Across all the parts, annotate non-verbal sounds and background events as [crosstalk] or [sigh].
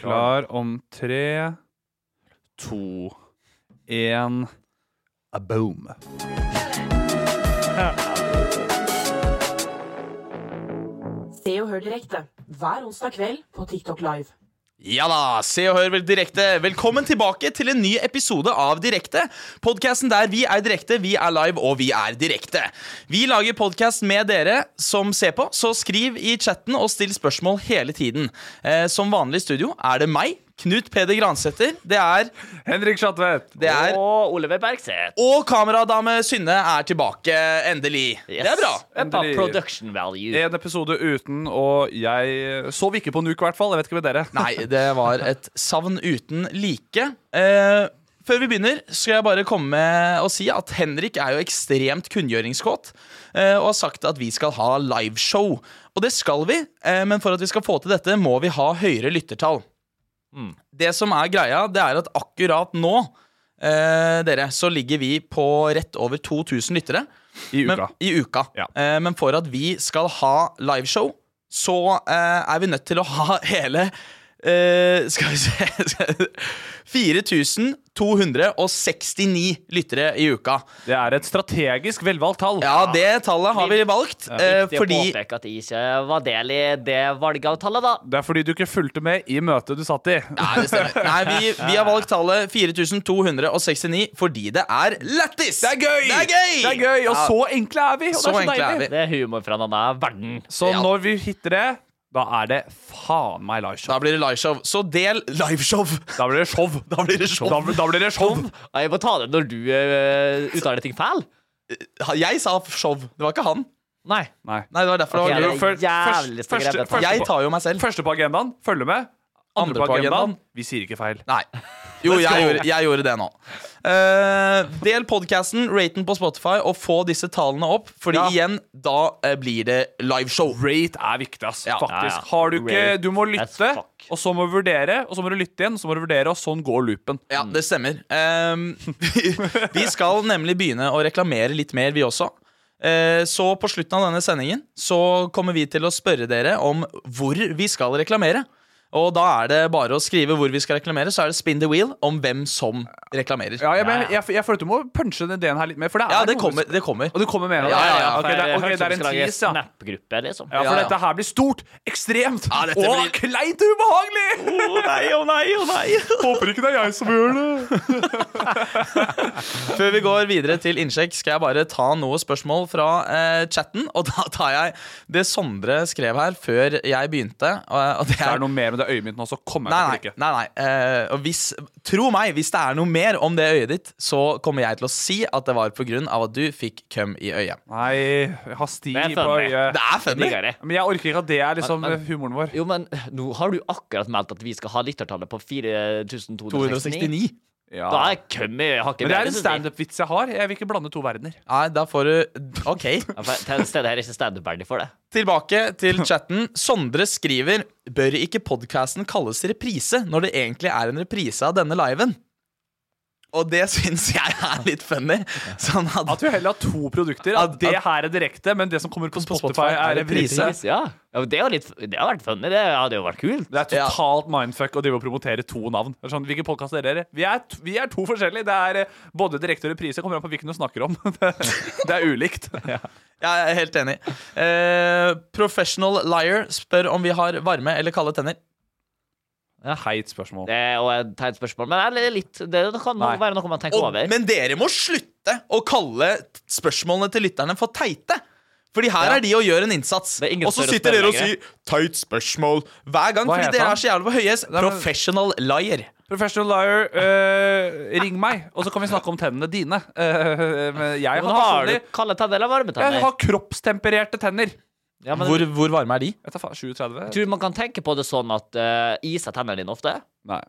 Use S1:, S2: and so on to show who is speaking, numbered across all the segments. S1: Klar om tre, to, én A boom.
S2: Se og hør direkte hver onsdag kveld på TikTok Live.
S3: Ja da, se og hør vel direkte. Velkommen tilbake til en ny episode av Direkte. Podkasten der vi er direkte, vi er live og vi er direkte. Vi lager podkast med dere som ser på, så skriv i chatten og still spørsmål hele tiden. Eh, som vanlig i studio er det meg, Knut Peder Gransæter. Det er
S1: Henrik Schatvedt.
S3: Det er
S4: Og Oliver Bergseth.
S3: Og kameradame Synne er tilbake, endelig. Det er bra.
S4: Eppa,
S1: Endelig.
S4: production value.
S1: En episode uten, og jeg sov ikke på en uke, i hvert fall. Jeg vet ikke med dere.
S3: Nei, det var et savn uten like. Eh, før vi begynner, skal jeg bare komme med å si at Henrik er jo ekstremt kunngjøringskåt. eh, og har sagt at vi skal ha liveshow. Og det skal vi, eh, men for at vi skal få til dette, må vi ha høyere lyttertall. Det som er greia, det er at akkurat nå, eh, dere, så ligger vi på rett over 2000 lyttere.
S1: I uka.
S3: Men, I uka.
S1: Ja.
S3: Eh, men for at vi skal ha liveshow, så eh, er vi nødt til å ha [laughs] hele eh, Skal vi se [laughs] 4269 lyttere i uka.
S1: Det er et strategisk velvalgt tall.
S3: Ja, det tallet har vi valgt. eh,
S4: Viktig
S3: fordi
S4: å påpeke at jeg ikke var del i det valgavtalen, da.
S1: Det er fordi du ikke fulgte med i møtet du satt i.
S3: Nei, det stemmer. [laughs] Nei, vi, vi har valgt tallet 4269 fordi det er lættis!
S1: Det er gøy!
S3: Det er gøy!
S1: Det er gøy, Og
S3: Ja.
S1: så enkle er vi! Og
S3: Så
S1: det er så
S3: enkle er
S1: deilig.
S3: vi.
S4: Det er humor fra en annen verden.
S1: Så
S3: Ja.
S1: når vi hitter det, da er det faen meg
S3: Da
S1: liveshow.
S3: blir det liveshow. Så del liveshow!
S1: Da blir det show.
S3: Da blir det show.
S1: Da, da blir det show.
S4: Og Jeg må ta det når du eh, uttaler ting feil.
S3: Jeg sa show, det var ikke han.
S4: Nei.
S1: Nei.
S3: Nei, det var derfor
S4: Ok,
S3: det var
S4: det
S3: gøy.
S4: er jævlig
S1: Først-
S4: greit,
S1: første-
S3: Jeg tar jo meg selv.
S1: Første på agendaen, følger med. Andre, på agendaen, vi sier ikke feil.
S3: Nei. Jo, jeg gjorde, jeg gjorde det nå. Eh, del podkasten, rate den på Spotify, og få disse tallene opp. Fordi
S1: Ja.
S3: igjen, da eh, blir det liveshow.
S1: Rate er viktig, ass.
S3: Ja.
S1: Faktisk.
S4: Ja, ja.
S1: Har du ikke
S4: Rate
S1: Du må
S4: as
S1: lytte,
S4: fuck.
S1: og så må du vurdere, og så må du lytte igjen, og så må du vurdere, og sånn går loopen.
S3: Ja, det stemmer. Ehm, vi skal nemlig begynne å reklamere litt mer, vi også. Eh, Så på slutten av denne sendingen så kommer vi til å spørre dere om hvor vi skal reklamere. Og da er det bare å skrive hvor vi skal reklamere, så er det spin the wheel om hvem som reklamerer.
S1: Ja, jeg, men, jeg, jeg føler at du må punche den ideen her litt mer, for det er
S3: Ja, det
S1: noe-
S3: kommer. Det kommer.
S1: Og du kommer med en av
S3: Ja,
S1: det?
S3: ja, ja.
S1: Ok, det, er- ok, det er en tease, ja.
S4: Snap-gruppe, liksom.
S1: Ja, for
S3: Ja, ja.
S1: dette her blir stort, ekstremt
S3: Ja, dette
S1: og
S3: blir-
S1: kleint og ubehagelig!
S3: Å nei, å nei, å nei.
S1: Håper ikke det er jeg som gjør det.
S3: Før vi går videre til innsjekk, skal jeg bare ta noe spørsmål fra eh, chatten. Og da tar jeg det Sondre skrev her før jeg begynte. Og, og det
S1: Det er
S3: er
S1: noe mer med det øyet mitt nå, så kommer
S3: Nei,
S1: jeg
S3: nei.
S1: til å klikke.
S3: nei, nei. Eh, og hvis, tro meg, hvis det er noe mer om det øyet ditt, så kommer jeg til å si at det var pga. at du fikk køm i øyet.
S1: Nei, jeg har sti
S4: Det er
S1: på
S4: funny.
S1: øyet.
S3: Det er funny!
S4: Ligger det.
S1: Men jeg orker ikke at det er liksom humoren vår.
S4: Jo, men nå har du akkurat meldt at vi skal ha lyttertallet på 4269.
S3: 269.
S1: Ja.
S4: Da er Kømmi hakket
S1: Men det
S4: bedre,
S1: er en
S4: synes
S1: standup-vits jeg har. Jeg vil ikke blande to verdener.
S3: Nei, da får du OK.
S4: Ja, for Til stedet her er ikke standup-verdig for det.
S3: Tilbake til chatten. Sondre skriver Bør ikke podkasten kalles reprise når det egentlig er en reprise av denne liven? Og det syns jeg er litt funny. Sånn at,
S1: At du heller har to produkter. At det her er direkte, men det som kommer på Spotify, er reprise.
S4: Pris, Ja. ja men det, er jo litt, det har vært funny. Det hadde jo vært kult.
S1: Det er totalt mindfuck å drive og promotere to navn. Det er Sånn, hvilke podcast er dere? Vi er, t- vi er to forskjellige. Det er eh, både direkte og reprise. Kommer an på hvilken du snakker om. [laughs] Det, det er ulikt. Ja.
S3: Jeg er helt enig. Eh, professional Liar spør om vi har varme eller kalde tenner.
S1: Det er heit spørsmål.
S4: Det er jo et teit spørsmål, men det, er litt, det kan
S1: Nei.
S4: være noe man tenker
S3: Og,
S4: over.
S3: men dere må slutte å kalle t- spørsmålene til lytterne for teite. Fordi her er de og gjør en innsats.
S4: Det er ingen
S3: Og så
S4: større
S3: sitter dere og
S4: spørsmål
S3: sier 'teit spørsmål' hver gang.
S1: Hva
S3: fordi
S1: heter
S3: dere
S1: han?
S3: er så jævlig på høyhest.
S1: Nei, men-
S3: Professional liar.
S1: Professional liar, eh, ring meg, og så kan vi snakke om tennene dine. Eh, men jeg har,
S4: Men har du
S1: personlig-
S4: kalde tenner eller varme
S1: jeg
S4: tenner?
S1: har kroppstempererte tenner.
S4: Ja, men,
S3: Hvor, hvor varme er de?
S1: Vet du faen, 37?
S4: Tror du man kan tenke på det sånn at uh, iser tennene dine ofte?
S1: Nei.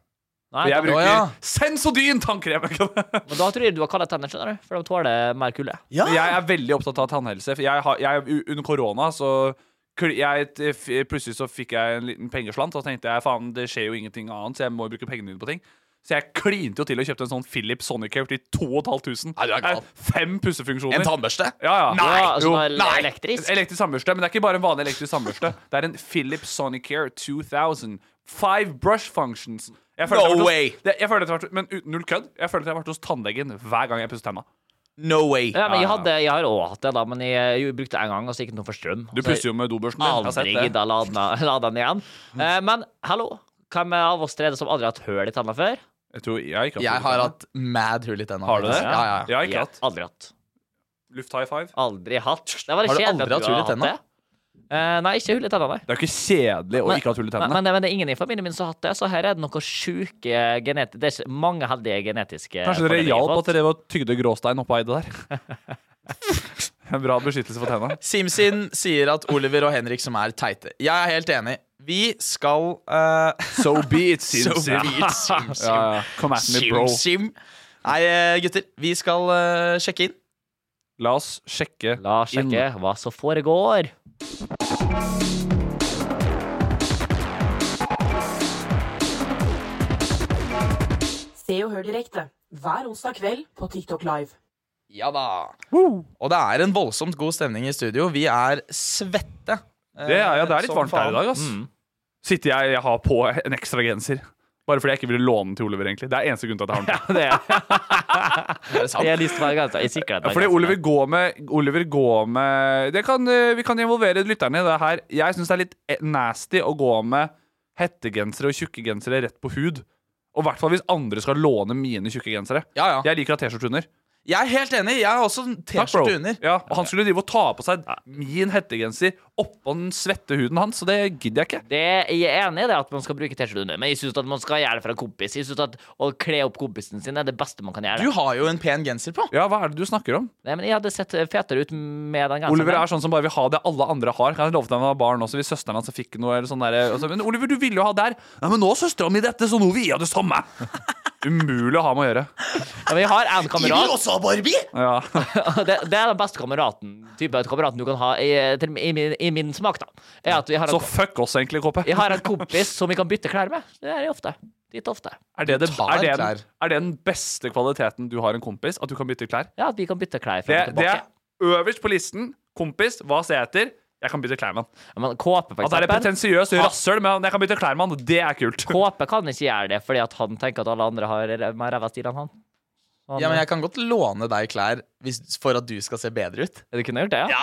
S4: Nei,
S1: Jeg
S4: da,
S1: bruker
S3: ja.
S1: Sensodyn tannkrem!
S4: men da tror jeg du har kalde tenner, skjønner du. For de tåler mer kulde.
S3: Ja.
S1: Men Jeg er veldig opptatt av tannhelse. For jeg har, jeg, u- under korona så kl- jeg, eh, f- Plutselig så fikk jeg en liten pengeslant, og så tenkte jeg faen, det skjer jo ingenting annet, så jeg må jo bruke pengene mine på ting. Så jeg klinte jo til og kjøpte en sånn Philips Sonicare til 2500.
S3: Nei, du er gal.
S1: Eh, Fem
S3: En
S1: pussefunksjoner.
S3: tannbørste?
S1: Ja, ja.
S4: Nei, ja, altså,
S1: jo.
S4: det er
S3: nei.
S4: Elektrisk.
S1: Elektrisk tannbørste. Men det er ikke bare en vanlig elektrisk [laughs] tannbørste. Det er en Philips Sonicare 2000. Five brush functions. Jeg føler
S3: No
S1: at jeg har vært
S3: way.
S1: Hos, det, jeg føler at jeg har vært, men ut- null kødd. Jeg føler at jeg har vært hos tannlegen hver gang jeg pusser tenna.
S3: No way.
S4: Ja, men jeg, hadde, jeg har òg hatt det, da, men jeg, jeg brukte det en gang, og så gikk det noe for strøm.
S1: Du pusser jo med dobørsten din. Jeg har sett
S4: Aldri
S1: det.
S4: gidda lade den- [laughs] lade den igjen. Eh, men hallo, hvem av oss tre er det som aldri har hatt hull i tenna før?
S1: Jeg tror jeg ikke
S3: Jeg har hatt mad hull i tenna.
S1: Har du det?
S3: Ja, ja, ja.
S1: Jeg har ikke hatt.
S4: Aldri hatt.
S1: Luft high five.
S4: Aldri hatt. Det var
S3: Har du
S4: kjedelig at
S3: aldri hatt hull i tenna?
S4: det. Eh, nei, ikke hull i tenna, nei.
S1: Det er jo ikke kjedelig å
S4: Men-
S1: ikke ha hull i
S4: Men,
S1: tennene.
S4: men, det- men det er ingen i familien min som har hatt det, så her er det noen sjuke genetiske Det er ikke- mange heldige genetiske
S1: Kanskje dere
S4: fordeler jeg har
S1: hjalp
S4: fått.
S1: at dere var tygde gråstein oppå eidet der? [laughs] En bra beskyttelse for tenna.
S3: Simsin sier at Oliver og Henrik som er teite. Jeg er helt enig. Vi skal eh,
S1: [laughs] So be it,
S3: [laughs] [laughs] So be it, Sim Sim.
S1: Ja, ja. Come at me, bro.
S3: Sim Sim. Nei, eh, gutter. Vi skal eh, sjekke inn.
S1: La oss sjekke
S4: La oss
S1: inn.
S4: sjekke hva som
S1: [laughs]
S4: foregår.
S2: Se og hør direkte hver onsdag kveld på TikTok Live.
S3: Ja da. Og det er en voldsomt god stemning i studio. Vi er svette. eh,
S1: Det er, ja, det er litt
S3: som
S1: varmt her
S3: faen.
S1: i dag, ass. Mm. Sitter jeg, jeg har på en ekstra genser. Bare fordi jeg ikke ville låne den til Oliver, egentlig. Det er eneste grunn til at jeg har den. på.
S4: [laughs] Det er,
S3: Er det
S1: altså.
S3: sant?
S4: jeg har lyst til å være grensa. Jeg sikrer at
S1: Ja,
S4: det er
S1: fordi
S4: grensa.
S1: Oliver går med, Oliver går med det kan, eh, Vi kan involvere lytterne i det her. Jeg syns det er litt eh, nasty å gå med hettegensere og tjukke gensere rett på hud. Og i hvert fall hvis andre skal låne mine tjukke gensere.
S3: Ja, ja.
S1: Jeg liker å ha T-skjorte under.
S3: Jeg er helt enig. Jeg har også en
S1: Takk, bro.
S3: T-skjorte under.
S1: Ja, og han skulle drive og ta på seg min hettegenser oppå den svette huden hans, så det gidder jeg ikke.
S4: Det, jeg er enig i det at man skal bruke T-skjorte under, men jeg syns at man skal gjøre det for en kompis. Jeg synes at Å kle opp kompisen sin er det beste man kan gjøre.
S3: Du har jo en pen genser på.
S1: Ja, hva er det du snakker om?
S4: Nei, men Jeg hadde sett fetere ut med den genseren.
S1: Oliver er sånn som bare vil ha det alle andre har. Kan jeg love deg han var barn også, hvis søsteren hans fikk noe eller sånn der, og så, Men Oliver, du ville jo ha der. Nei, men nå er søstera mi dette, så nå vil jeg ha det samme. Umulig å ha med å gjøre.
S4: ja, men jeg har en kamerat.
S3: også ha Barbie!
S1: Ja.
S4: Det, det er den beste kameraten Type kameraten du kan ha i, til, i, min, i min smak, da. Er at jeg, har
S1: Så
S4: en,
S1: fuck oss, egentlig, Kåpe.
S4: jeg har en kompis som jeg kan bytte klær med. Det er jeg ofte. Litt ofte.
S1: Er det, det,
S3: Du tar
S1: er, det
S3: klær.
S1: den, er det den beste kvaliteten du har en kompis? At du kan bytte klær?
S4: Ja, at vi kan bytte klær
S1: Det,
S4: fra og
S1: det
S4: tilbake.
S1: er øverst på listen. Kompis, hva ser jeg etter? Jeg kan bytte klær med han.
S4: Ja, Men kåpe,
S1: At
S4: for
S1: det er
S4: eksempel.
S1: pretensiøst rasshøl, men jeg kan bytte klær med han. Det er kult.
S4: Kåpe kan ikke gjøre det fordi at han tenker at alle andre har re- mer ræva stil enn han. han
S3: Ja, men jeg kan godt låne deg klær hvis, for at du skal se bedre ut.
S4: eh, Du kunne gjort det, ja?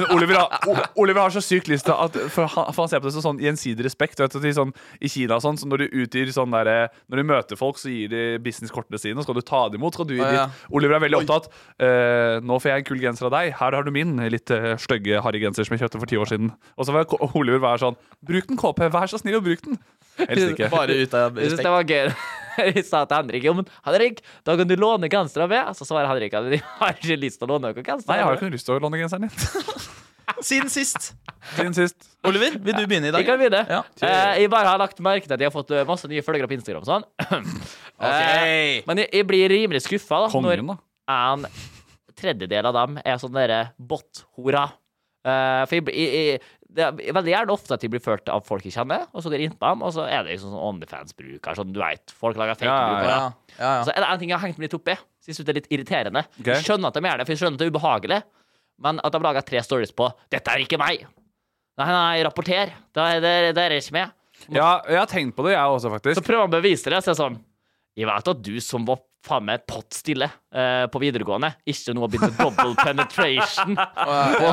S1: Men Oliver har, O- Oliver har så sykt lyst til at For han, for han ser på det som sånn gjensidig respekt. Vet du, til sånn, I Kina og sånn, så når du utgir sånn der, eh, Når du møter folk, så gir de businesskortene sine, og skal du ta det imot, skal du gi
S3: Å,
S1: ditt.
S3: ja.
S1: Oliver er veldig opptatt. eh, 'Nå får jeg en kul genser av deg. Her har du min litt uh, stygge harrygenser som jeg kjøpte for ti år siden.' Og så var Ko- Oliver være sånn 'Bruk den, KP. Vær så snill og bruk den.' Helst ikke.
S3: [laughs] Bare ut av
S4: Jeg synes
S3: respekt.
S4: det var gøy. [laughs] Jeg sa til Henrik jo, men Henrik, da kan du låne genseren min. Så svarer Henrik at jeg har ikke lyst til å låne noen genser.
S1: Nei, jeg har jo ikke lyst til å låne genseren din. [laughs]
S3: Siden sist.
S1: Siden sist.
S3: Oliver, vil du begynne i dag?
S4: Vi kan begynne.
S3: Ja.
S4: Eh, jeg bare har lagt merke til at jeg har fått eh, masse nye følgere på Instagram.
S1: [laughs]
S4: Sånn. Eh, men jeg, jeg blir rimelig skuffa når
S1: Kongen, da.
S4: en tredjedel av dem er sånn derre bot-hora. Eh, for jeg, blir- jeg, jeg, det er veldig gjerne ofte at jeg blir ført av folk jeg kjenner, og så går jeg inn på dem, og så er det liksom sånn Onlyfans-bruker. Sånn, du vet, folk lager fake
S1: Ja, ja,
S4: brukere.
S3: Ja, ja,
S4: Og
S3: ja.
S1: Altså,
S4: Så er det en ting jeg har hengt meg litt opp i. Så Jeg synes det er litt irriterende.
S1: Ok.
S4: Jeg skjønner at de gjør det, for jeg skjønner at det er ubehagelig. Men at de lager tre stories på 'Dette er ikke meg'. Nei, nei, rapporter. Det er, det er, det er ikke meg.
S1: Ja, jeg har tenkt på det, jeg også,
S4: Så
S1: faktisk.
S4: prøver han å bevise det. Så er det sånn Jeg vet at du som var faen meg pott stille eh, på videregående, ikke nå har begynt med double
S1: [laughs]
S4: penetration på,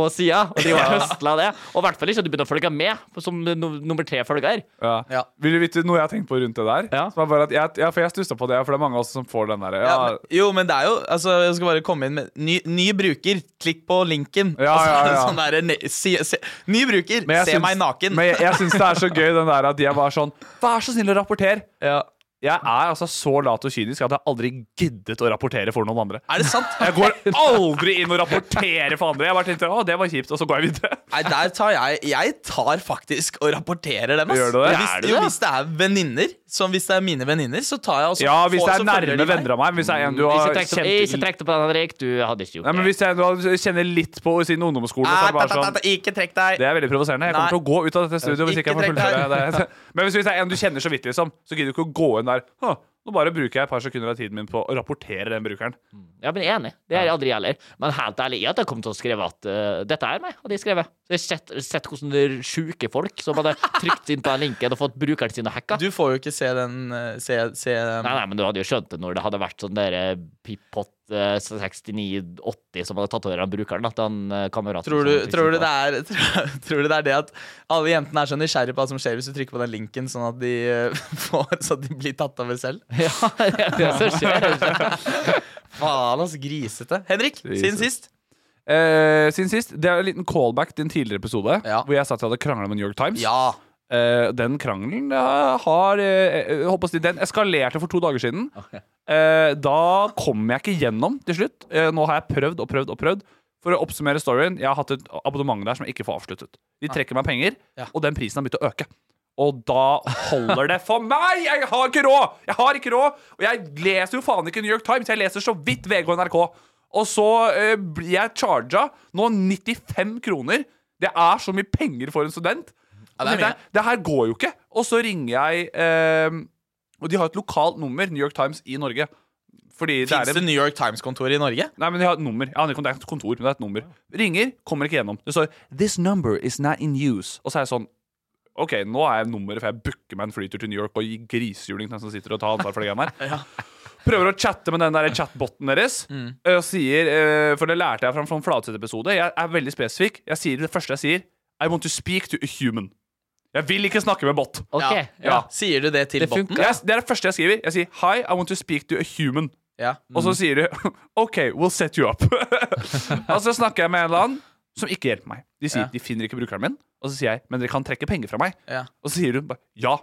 S4: på sida. Og de var høstla av det. Og i hvert fall ikke at du begynner å følge med som no, nummer tre følger.
S1: Ja.
S3: Ja.
S1: Vil du vite noe jeg har tenkt på rundt det der?
S4: Ja.
S1: Som er bare at jeg, ja, for jeg stussa på det, for det er mange av oss som får den derre
S3: Ja,
S1: ja,
S3: men, jo, men det er jo altså, Jeg skal bare komme inn med Ny, ny bruker, klikk på linken.
S1: Ja,
S3: Altså,
S1: ja, ja.
S3: Sånn der, ne, si, se, ny bruker,
S1: Men jeg
S3: se
S1: syns-
S3: meg naken.
S1: Men jeg, jeg syns det er så gøy den der at de er bare sånn Vær så snill å rapportere!
S3: ja.
S1: Jeg er altså så lat og kynisk at jeg aldri giddet å rapportere for noen andre.
S3: Er det sant?
S1: Jeg går aldri inn og rapporterer for andre. Jeg bare tenkte, å, det var kjipt, og så går jeg videre.
S3: Nei, der tar jeg Jeg tar faktisk og rapporterer dem. ass.
S1: Gjør du det?
S3: Hvis,
S1: Er du
S3: jo,
S1: det?
S3: hvis det er venninner, som hvis det er mine venninner, så tar jeg også
S1: Ja, hvis
S3: får-
S1: det er
S3: så følger de
S1: nærme
S3: meg.
S1: venner av meg. men Hvis det er en du har
S4: Ikke trekk
S1: kjent
S4: deg- ikke trekk deg på den, Henrik. Du hadde ikke gjort
S1: Nei, men
S4: det.
S1: Hvis det er en du har- kjenner litt på siden ungdomsskolen, så er det
S3: Nei,
S1: bare
S3: Ah, ta, ta, ta,
S1: sånn
S3: ta, Ikke trekk deg.
S1: det er veldig provoserende. Jeg
S3: Nei.
S1: kommer til å gå ut av dette studioet hvis
S3: Ikke
S1: ikke jeg får
S3: trekk deg.
S1: fullføre det. [laughs] Men hvis hvis det er en du kjenner så vidt, liksom, så gidder du ikke å gå inn der. «Hå, Nå bare bruker jeg et par sekunder av tiden min på å rapportere den brukeren.
S4: Ja, men jeg er enig. Det er jeg aldri jeg heller. Men helt ærlig, jeg hadde kommet til å skrive at eh, dette er meg, hadde jeg skrevet. Så jeg har sett, sett hvordan det er sjuke folk som hadde trykt inn på den linken og fått brukeren sin hacka.
S3: Du får jo ikke se den eh, Se, se
S4: Nei, nei, men du hadde jo skjønt det når det hadde vært sånn derre Pippot 6980 eh, som hadde tatt over den brukeren, at han eh, kameraten
S3: Tror du,
S4: som-
S3: tror, du det er, [laughs] tror du det er det at alle jentene er så nysgjerrige på hva som skjer hvis du trykker på den linken, sånn at de, eh, [laughs] får, så de blir tatt over selv?
S4: [laughs] Ja, det er det som skjer.
S3: Faen, altså. Grisete. Henrik, siden
S1: Grisete.
S3: sist.
S1: Eh, siden sist, Det er en liten callback til en tidligere episode
S3: Ja.
S1: hvor jeg sa at jeg hadde krangla med New York Times.
S3: Ja.
S1: Eh, den krangelen eh, har eh, eh, holdt på å si, Den eskalerte for to dager siden. Eh, da kom jeg ikke gjennom til slutt. Eh, nå har jeg prøvd og prøvd og prøvd. For å oppsummere storyen, jeg har hatt et abonnement der som jeg ikke får avsluttet. De trekker meg penger,
S3: Ja.
S1: og den prisen har begynt å øke. Og da holder det for meg! Jeg har ikke råd! Jeg har ikke råd Og jeg leser jo faen ikke New York Times, jeg leser så vidt VG og NRK. Og så eh, blir jeg charga nå 95 kroner. Det er så mye penger for en student.
S3: det er
S1: det,
S3: mye.
S1: det her går jo ikke. Og så ringer jeg eh, Og de har et lokalt nummer, New York Times, i Norge. Fordi det
S3: Fins
S1: er
S3: det
S1: en,
S3: New York Times-kontor i Norge?
S1: Nei, men de har et nummer. Jeg aner ikke om det er et kontor, men det er et nummer. Ringer, kommer ikke gjennom. Det står 'This number is not in use'. Og så er jeg sånn OK, nå er jeg nummeret, for jeg booker meg en flytur til New York og gir grisehjuling til den som sitter og tar ansvar for det greiene der. Prøver å chatte med den der chatboten deres. Og sier, eh, For det lærte jeg fra en sånn Fladseth-episode. Jeg er veldig spesifikk. Jeg sier Det første jeg sier, I want to speak to a human. Jeg vil ikke snakke med bot.
S4: OK.
S3: Ja.
S4: Ja.
S3: Sier du det til
S4: Det
S3: botten?
S4: funker.
S1: Jeg, det er det første jeg skriver. Jeg sier 'Hi, I want to speak to a human'.
S3: Ja.
S1: Og så sier de [laughs] OK, we'll set
S3: [laughs]
S1: you up. og så snakker jeg med en eller annen som ikke hjelper meg. De sier
S3: Ja.
S1: de finner ikke brukeren min. Og så sier jeg men dere kan trekke penger fra meg.
S3: Ja.
S1: Og så sier hun bare ja.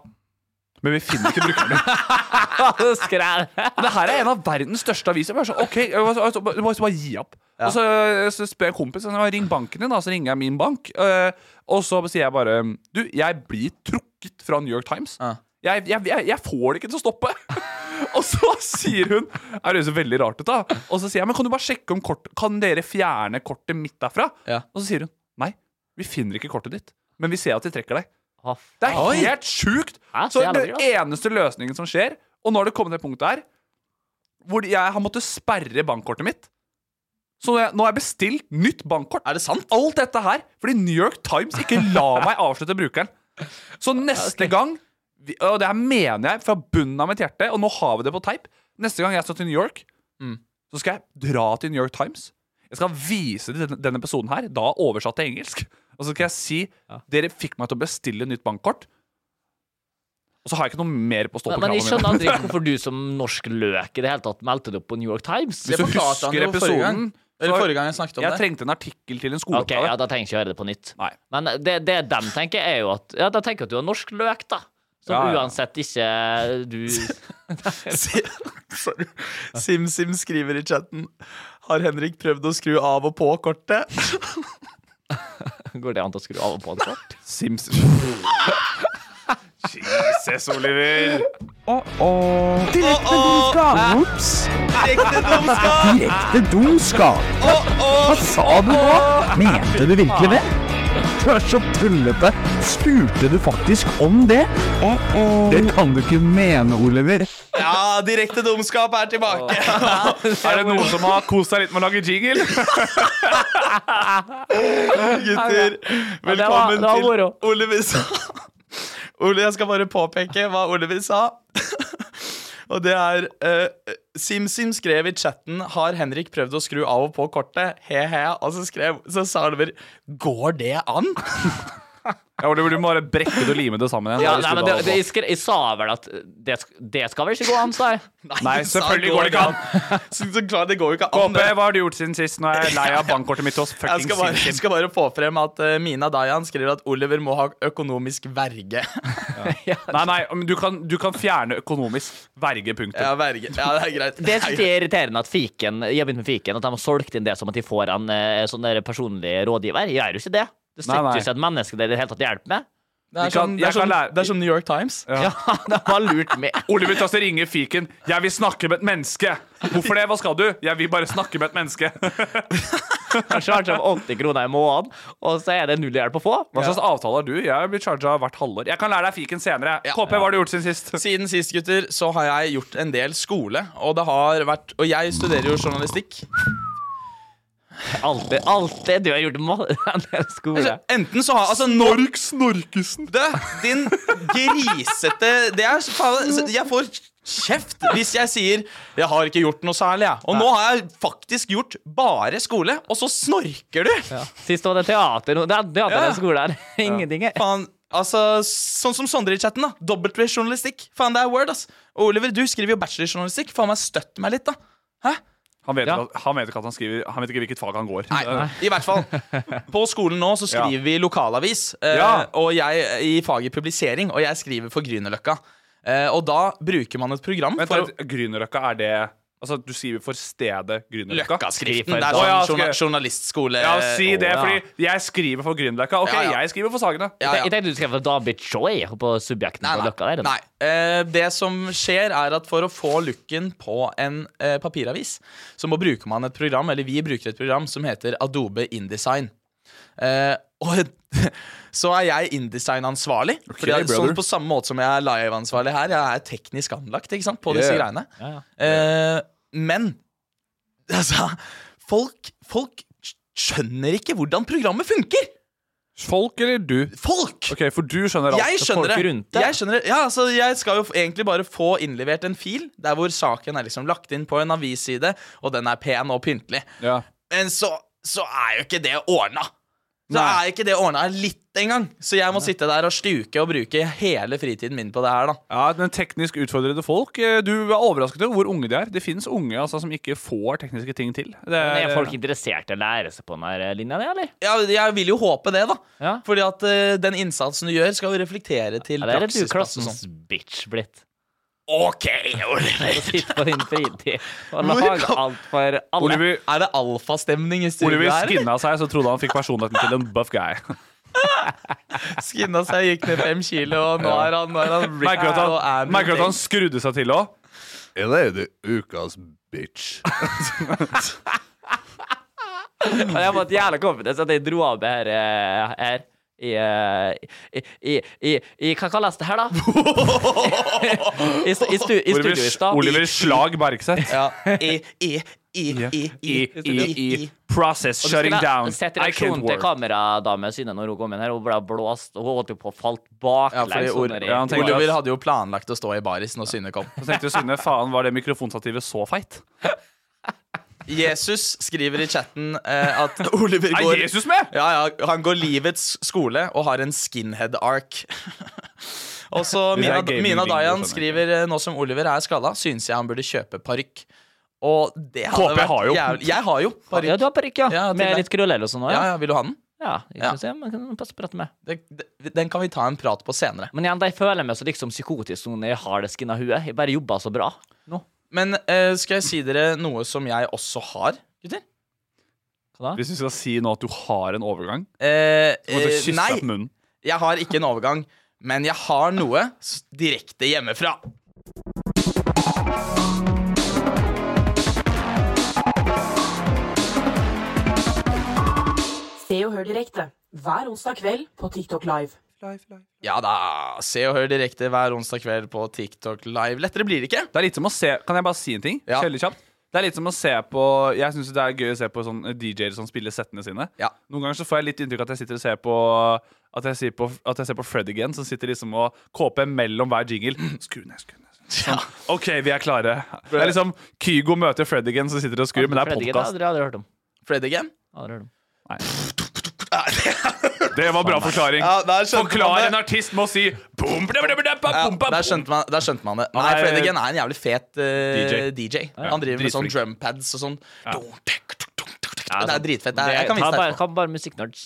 S1: Men vi finner ikke
S3: [laughs]
S1: brukeren din. [laughs]
S4: Skræl.
S1: Og det her er en av verdens største aviser. Bare så, ok, jeg må- jeg må- jeg må bare gi opp. Og så, eh, så spør jeg kompisen ring banken din, da. Så ringer jeg min bank. eh, Og så sier jeg bare Du, jeg blir trukket fra New York Times.
S3: Ja.
S1: Jeg, jeg, jeg, jeg får det ikke til å stoppe. [laughs] og så sier hun Er det så veldig rart ut, da? Og så sier jeg, men kan du bare sjekke om kort Kan dere fjerne kortet mitt derfra?
S3: Ja.
S1: Og så sier hun nei, vi finner ikke kortet ditt, men vi ser at de trekker deg.
S4: Å, f-
S1: Det er
S3: Oi.
S1: helt sjukt!
S4: Hæ, så
S1: Så
S4: jævla
S1: den
S4: bra.
S1: eneste løsningen som skjer Og nå har det kommet til et punkt her hvor jeg har måttet sperre bankkortet mitt. Så jeg, nå har jeg bestilt nytt bankkort.
S3: Er det sant? [laughs]
S1: Alt dette her fordi New York Times ikke la meg avslutte brukeren. Så neste gang vi- Og det her mener jeg fra bunnen av mitt hjerte, og nå har vi det på teip. Neste gang jeg skal til New York,
S3: Mm.
S1: så skal jeg dra til New York Times. Jeg skal vise til denne, denne episoden her, da oversatt til engelsk. Og så skal jeg si dere fikk meg til å bestille nytt bankkort. Og så har jeg ikke noe mer på å stå på
S4: Men, men jeg
S1: kravene
S4: skjønner
S1: mine.
S4: aldri hvorfor du som norsk løk i det hele tatt meldte deg opp på New York Times.
S1: Hvis du
S3: Det forklarte han
S1: husker
S3: jo forrige gang.
S1: episoden
S3: Eller
S1: så-
S3: forrige gang jeg snakket om
S1: Jeg
S3: det.
S1: trengte en artikkel til en
S4: Ok,
S1: skoleoppgave.
S4: ja, Da trenger jeg ikke å høre det på nytt.
S1: Nei.
S4: Men det, det de tenker, er jo at Ja, de tenker at du er norsk løk, da. Som
S1: Ja, ja.
S4: uansett ikke eh, du
S3: Sorry. SimSim skriver i chatten Har Henrik prøvd å skru av og på kortet?
S4: Går det an til å skru av og på en svart?
S5: [laughs]
S1: Sims. Jesus, Oliver.
S3: Direkte dumskap!
S5: Direkte dumskap! Hva sa du nå? Mente du virkelig det? Du er så tullete. Spurte du faktisk om det? Det kan du ikke mene, Oliver.
S3: Ja, direkte dumskap er tilbake.
S1: Er det noen som har kost seg litt med å lage jingle?
S3: Gutter,
S4: det var-
S3: velkommen
S4: det var
S3: til
S4: moro.
S3: Oliver sa [laughs] Ole, jeg skal bare påpeke hva Oliver sa. [laughs] Og det er eh, SimSim skrev i chatten Har Henrik prøvd å skru av og på kortet? He-he. Og så skrev Så sa Oliver Går det an? [laughs]
S1: Ja, Oliver, du må bare brekke det og lime det sammen igjen.
S4: Ja,
S1: Da vi
S4: nei, men
S1: skrudde av og
S4: det, det,
S1: på.
S4: jeg, skre, jeg sa vel at det, sk- det skal vel ikke gå an, sa jeg.
S1: Nei,
S3: sa
S1: selvfølgelig går det ikke
S3: an. [laughs] Så, så klart det går jo ikke an.
S1: KP,
S3: det.
S1: hva har du gjort siden sist? Nå er jeg lei av bankkortet mitt hos
S3: Jeg
S1: fucking
S3: skal bare, jeg
S1: Simsim.
S3: skal bare få frem at eh, Mina Dayan skriver at Oliver må ha økonomisk verge.
S1: Nei, nei, men du kan, du kan fjerne økonomisk verge, punktum.
S3: [laughs] Ja, verge. Ja, det er greit.
S4: Det synes jeg er irriterende at fiken, jeg har begynt med fiken, at de har solgt inn det som at de får en eh, sånn der personlig rådgiver. Jeg gjør jo ikke det. Det
S1: Nei,
S4: sitter
S1: nei.
S4: jo ikke et menneske der i det hele tatt hjelper med.
S3: Det
S1: Vi kan-
S3: er, som, sånn- det,
S1: jeg
S3: er som,
S1: kan lære-
S3: det er som New York Times.
S4: Ja, de har lurt med. [laughs]
S1: Oliver Tasse ringer fiken. 'Jeg vil snakke med et menneske'. Hvorfor det? Hva skal du? 'Jeg vil bare snakke med et menneske'.
S4: Han charger dem 80 kroner i måneden, og så er det null hjelp å få.
S1: Hva slags avtale har du? Jeg blir charga hvert halvår. Jeg kan lære deg fiken senere. KP, hva har du gjort siden sist?
S3: Siden sist, gutter, så har jeg gjort en del skole. Og det har vært Og jeg studerer jo journalistikk.
S4: Alt det, alt det du har gjort må- [laughs] en del skole.
S3: Enten så har Altså, Nork Snorkesen. Det, din grisete Det er så faen altså, Jeg får kjeft hvis jeg sier 'jeg har ikke gjort noe særlig', jeg. Og nå har jeg faktisk gjort bare skole, og så snorker du!
S4: Sist var det teater. nå- Det er teater
S3: Ja.
S4: og skole her. [laughs] Ingenting. er-
S3: Faen, altså, sånn som Sondre i chatten, da. W-journalistikk. Faen, det er word, ass. Og Oliver, du skriver jo bachelorjournalistikk. Faen meg, støtt meg litt, da. Hæ?
S1: Han vet,
S4: Ja.
S1: ikke at- han vet ikke at han skriver Han vet ikke hvilket fag han går.
S3: Nei, i hvert fall. På skolen nå så skriver vi lokalavis, eh,
S1: Ja.
S3: og jeg i faget publisering, og jeg skriver for Grünerløkka. Eh, og da bruker man et program
S1: Vent
S3: for
S1: litt, Grünerløkka, er det Altså, du skriver for stedet Grünerløkka?
S3: Løkkaskriften. Det er
S1: Å,
S3: sånn
S1: ja, skal
S3: journa
S1: jeg-
S3: journalistskole
S1: Ja, si det,
S3: Å, ja.
S1: fordi jeg skriver for Grünerløkka. OK,
S3: Ja, ja.
S1: jeg skriver for Sagene.
S3: Ja, ja.
S4: Jeg tenkte du skrev David Choi på subjekten
S3: Nei,
S4: på
S3: nei.
S4: Løkka der.
S3: nei. Eh, det som skjer, er at for å få looken på en eh, papiravis, så må bruker man et program, eller vi bruker et program som heter Adobe InDesign. Eh, og [laughs] så er jeg InDesign-ansvarlig. fordi jeg-
S1: brother.
S3: sånn på samme måte som jeg er live-ansvarlig her. Jeg er teknisk anlagt ikke sant, på disse
S1: Yeah.
S3: greiene. Eh, men [laughs] altså folk, folk skjønner ikke hvordan programmet funker!
S1: Folk eller du?
S3: Folk!
S1: OK, for du skjønner alt.
S3: Jeg skjønner det.
S4: folk rundt deg.
S3: Jeg skjønner det Ja, altså Jeg skal jo f- egentlig bare få innlevert en fil der hvor saken er liksom lagt inn på en avisside, og den er pen og pyntelig.
S1: Ja.
S3: Men så, så er jo ikke det ordna. Så
S1: Nei.
S3: er ikke det ordna litt engang. Så jeg må sitte der og stuke og bruke hele fritiden min på det her, da.
S1: Ja, men Teknisk utfordrede folk. eh, Du er overrasket over hvor unge de er. Det fins unge altså, som ikke får tekniske ting til. Det
S4: Men
S3: Eh.
S4: er folk interessert i å lære seg på denne linja, di, eller?
S3: Ja, jeg vil jo håpe det, da.
S4: Ja.
S3: Fordi at eh, den innsatsen du gjør, skal jo reflektere til
S4: Eller er det du
S3: praksisplass og sånn.
S4: klassens bitch blitt? [laughs]
S3: OK,
S4: Å
S3: Oliver.
S4: sitte på din fritid og
S3: Hvor
S4: lage
S3: kom-
S4: alt for alle.
S1: Oliver,
S3: Er det alfastemning i studio
S1: Oliver
S3: her? eller?
S1: skinna seg, så trodde han fikk personligheten til en buff guy.
S3: Skinna seg, gikk ned fem kilo, og nå er han, nå er han
S1: Merker du at
S3: og
S1: han,
S3: er
S1: merker du at han
S3: blitt-
S1: skrudde seg til òg?
S5: Eller er det ukas bitch?
S4: Og jeg har fått jævla confidence at jeg dro av det her, eh, her. I, eh, i, i, i, i Hva kalles det her, da? I, stu- i, stu, i
S1: Oliver,
S4: studio i stad.
S1: Oliver Slag Bergseth.
S3: Ja. I, i, i, i, i,
S1: I, i, i Process
S4: Og du
S1: shutting
S4: skulle
S1: down.
S4: Sett
S1: I can't
S4: reaksjonen til
S1: work.
S4: kameradame Synne når hun kom inn her. Hun ble blåst, og hun holdt jo på å falt baklengs.
S3: fordi
S4: sånn
S3: Or-
S4: der i-
S1: Ja, han tenkte-
S3: Oliver hadde jo planlagt å stå i baris når Synne kom.
S1: Så tenkte jeg, Synne, faen, var det mikrofonstativet så feit?
S3: Jesus skriver i chatten eh, at [laughs] Oliver
S1: Er
S3: går
S1: Jesus med?!
S3: ja, ja, Han går livets skole og har en skinhead-ark. [laughs] Og så
S1: Det er
S3: Mina,
S1: gaming-bingo,
S3: Mina Dayan
S1: skjønner jeg.
S3: skriver eh, nå som Oliver er skalla, syns jeg han burde kjøpe parykk. Og det hadde
S1: KP
S3: vært
S1: har jo.
S3: jævlig- Jeg har jo
S4: Ja,
S3: parykk.
S4: du har parykk, ja.
S3: Ja, til
S4: Med
S3: deg.
S4: litt krøller og sånn òg, ja.
S3: Ja, ja, vil du ha den?
S4: ja. vi
S3: Ja.
S4: kan se, man kan passe på dette med.
S3: Det, det, den kan vi ta en prat på senere.
S4: Men igjen, de føler meg så liksom psykotisk når jeg har det skinna huet. Jeg bare jobber så bra.
S3: Men eh, skal jeg si dere noe som jeg også har, gutter?
S4: Hva da?
S1: Hvis du skal si nå at du har en overgang
S3: Eh,
S1: Du måtte
S3: eh,
S1: kysse
S3: nei,
S1: opp munnen.
S3: jeg har ikke en overgang, men jeg har noe s- direkte hjemmefra.
S2: Se og hør direkte hver onsdag kveld på TikTok Live.
S3: Ja da, se og hør direkte hver onsdag kveld på TikTok Live. Lettere blir det ikke.
S1: Det er litt som å se Kan jeg bare si en ting?
S3: Ja.
S1: Veldig kjapt. Det er litt som å se på Jeg syns det er gøy å se på sånn DJ-er som spiller settene sine. Noen ganger så får jeg litt inntrykk av at jeg sitter og ser på At jeg, sier på, at jeg ser på Fred again, som sitter liksom og kåper mellom hver jingle. Skru ned, skru ned. Sånn. OK, vi er klare. Det er liksom Kygo møter Fred again, som sitter og skrur, men det er
S4: Fred again,
S1: podkast.
S4: Det har jeg aldri hørt om.
S3: Fred again?
S4: Aldri hørt om.
S1: Det var bra forklaring.
S3: Ja, der skjønte man
S1: Forklar
S3: det.
S1: en artist med å si boom, bla, bla, bla, bla,
S3: Ja,
S1: bom, bla,
S3: der,
S1: bom.
S3: skjønte man, der skjønte man det.
S1: Han
S3: Nei,
S1: er-
S3: Fred again er en jævlig fet eh, DJ.
S1: Ja,
S3: Han driver med sånn
S1: dritflink.
S3: drumpads og sånn. Det
S4: sånn.
S3: er dritfett. Det
S4: Det- ta
S3: er, jeg kan vise deg
S4: bare,
S3: etterpå.
S4: kan bare musikknerds.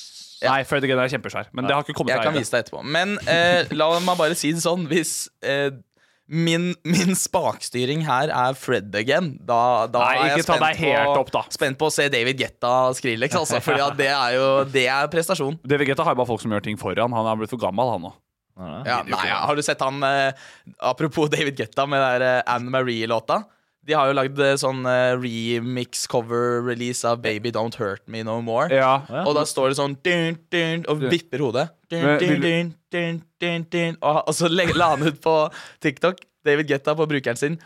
S1: Nei, Fred again er kjempesvær, men det har ikke kommet
S3: Jeg
S1: seg
S3: kan
S1: ennå.
S3: vise deg etterpå. Men eh, la meg bare si det sånn. Hvis eh, min, min spakstyring her er Fred again, da, da
S1: Nei,
S3: er jeg
S1: ikke ta deg helt
S3: på,
S1: opp, da.
S3: spent på å se David Getta Skrillex, altså. For det er jo det er prestasjon.
S1: Det Vegeta har jo bare folk som gjør ting for han. Han er blitt for gammel, han nå.
S3: Ja, nei, ja, har du sett han eh, Apropos David Getta med den der, eh, Anne Marie-låta. De har jo lagd eh, sånn eh, remix-cover-release av Baby Don't Hurt Me No More.
S1: Ja.
S3: Og da står det sånn dun, dun, og vipper hodet. Dun,
S1: Men vil
S3: dun,
S1: du-
S3: dun, dun, dun, dun, og, og så legger- la han ut på TikTok, David Getta, på brukeren sin.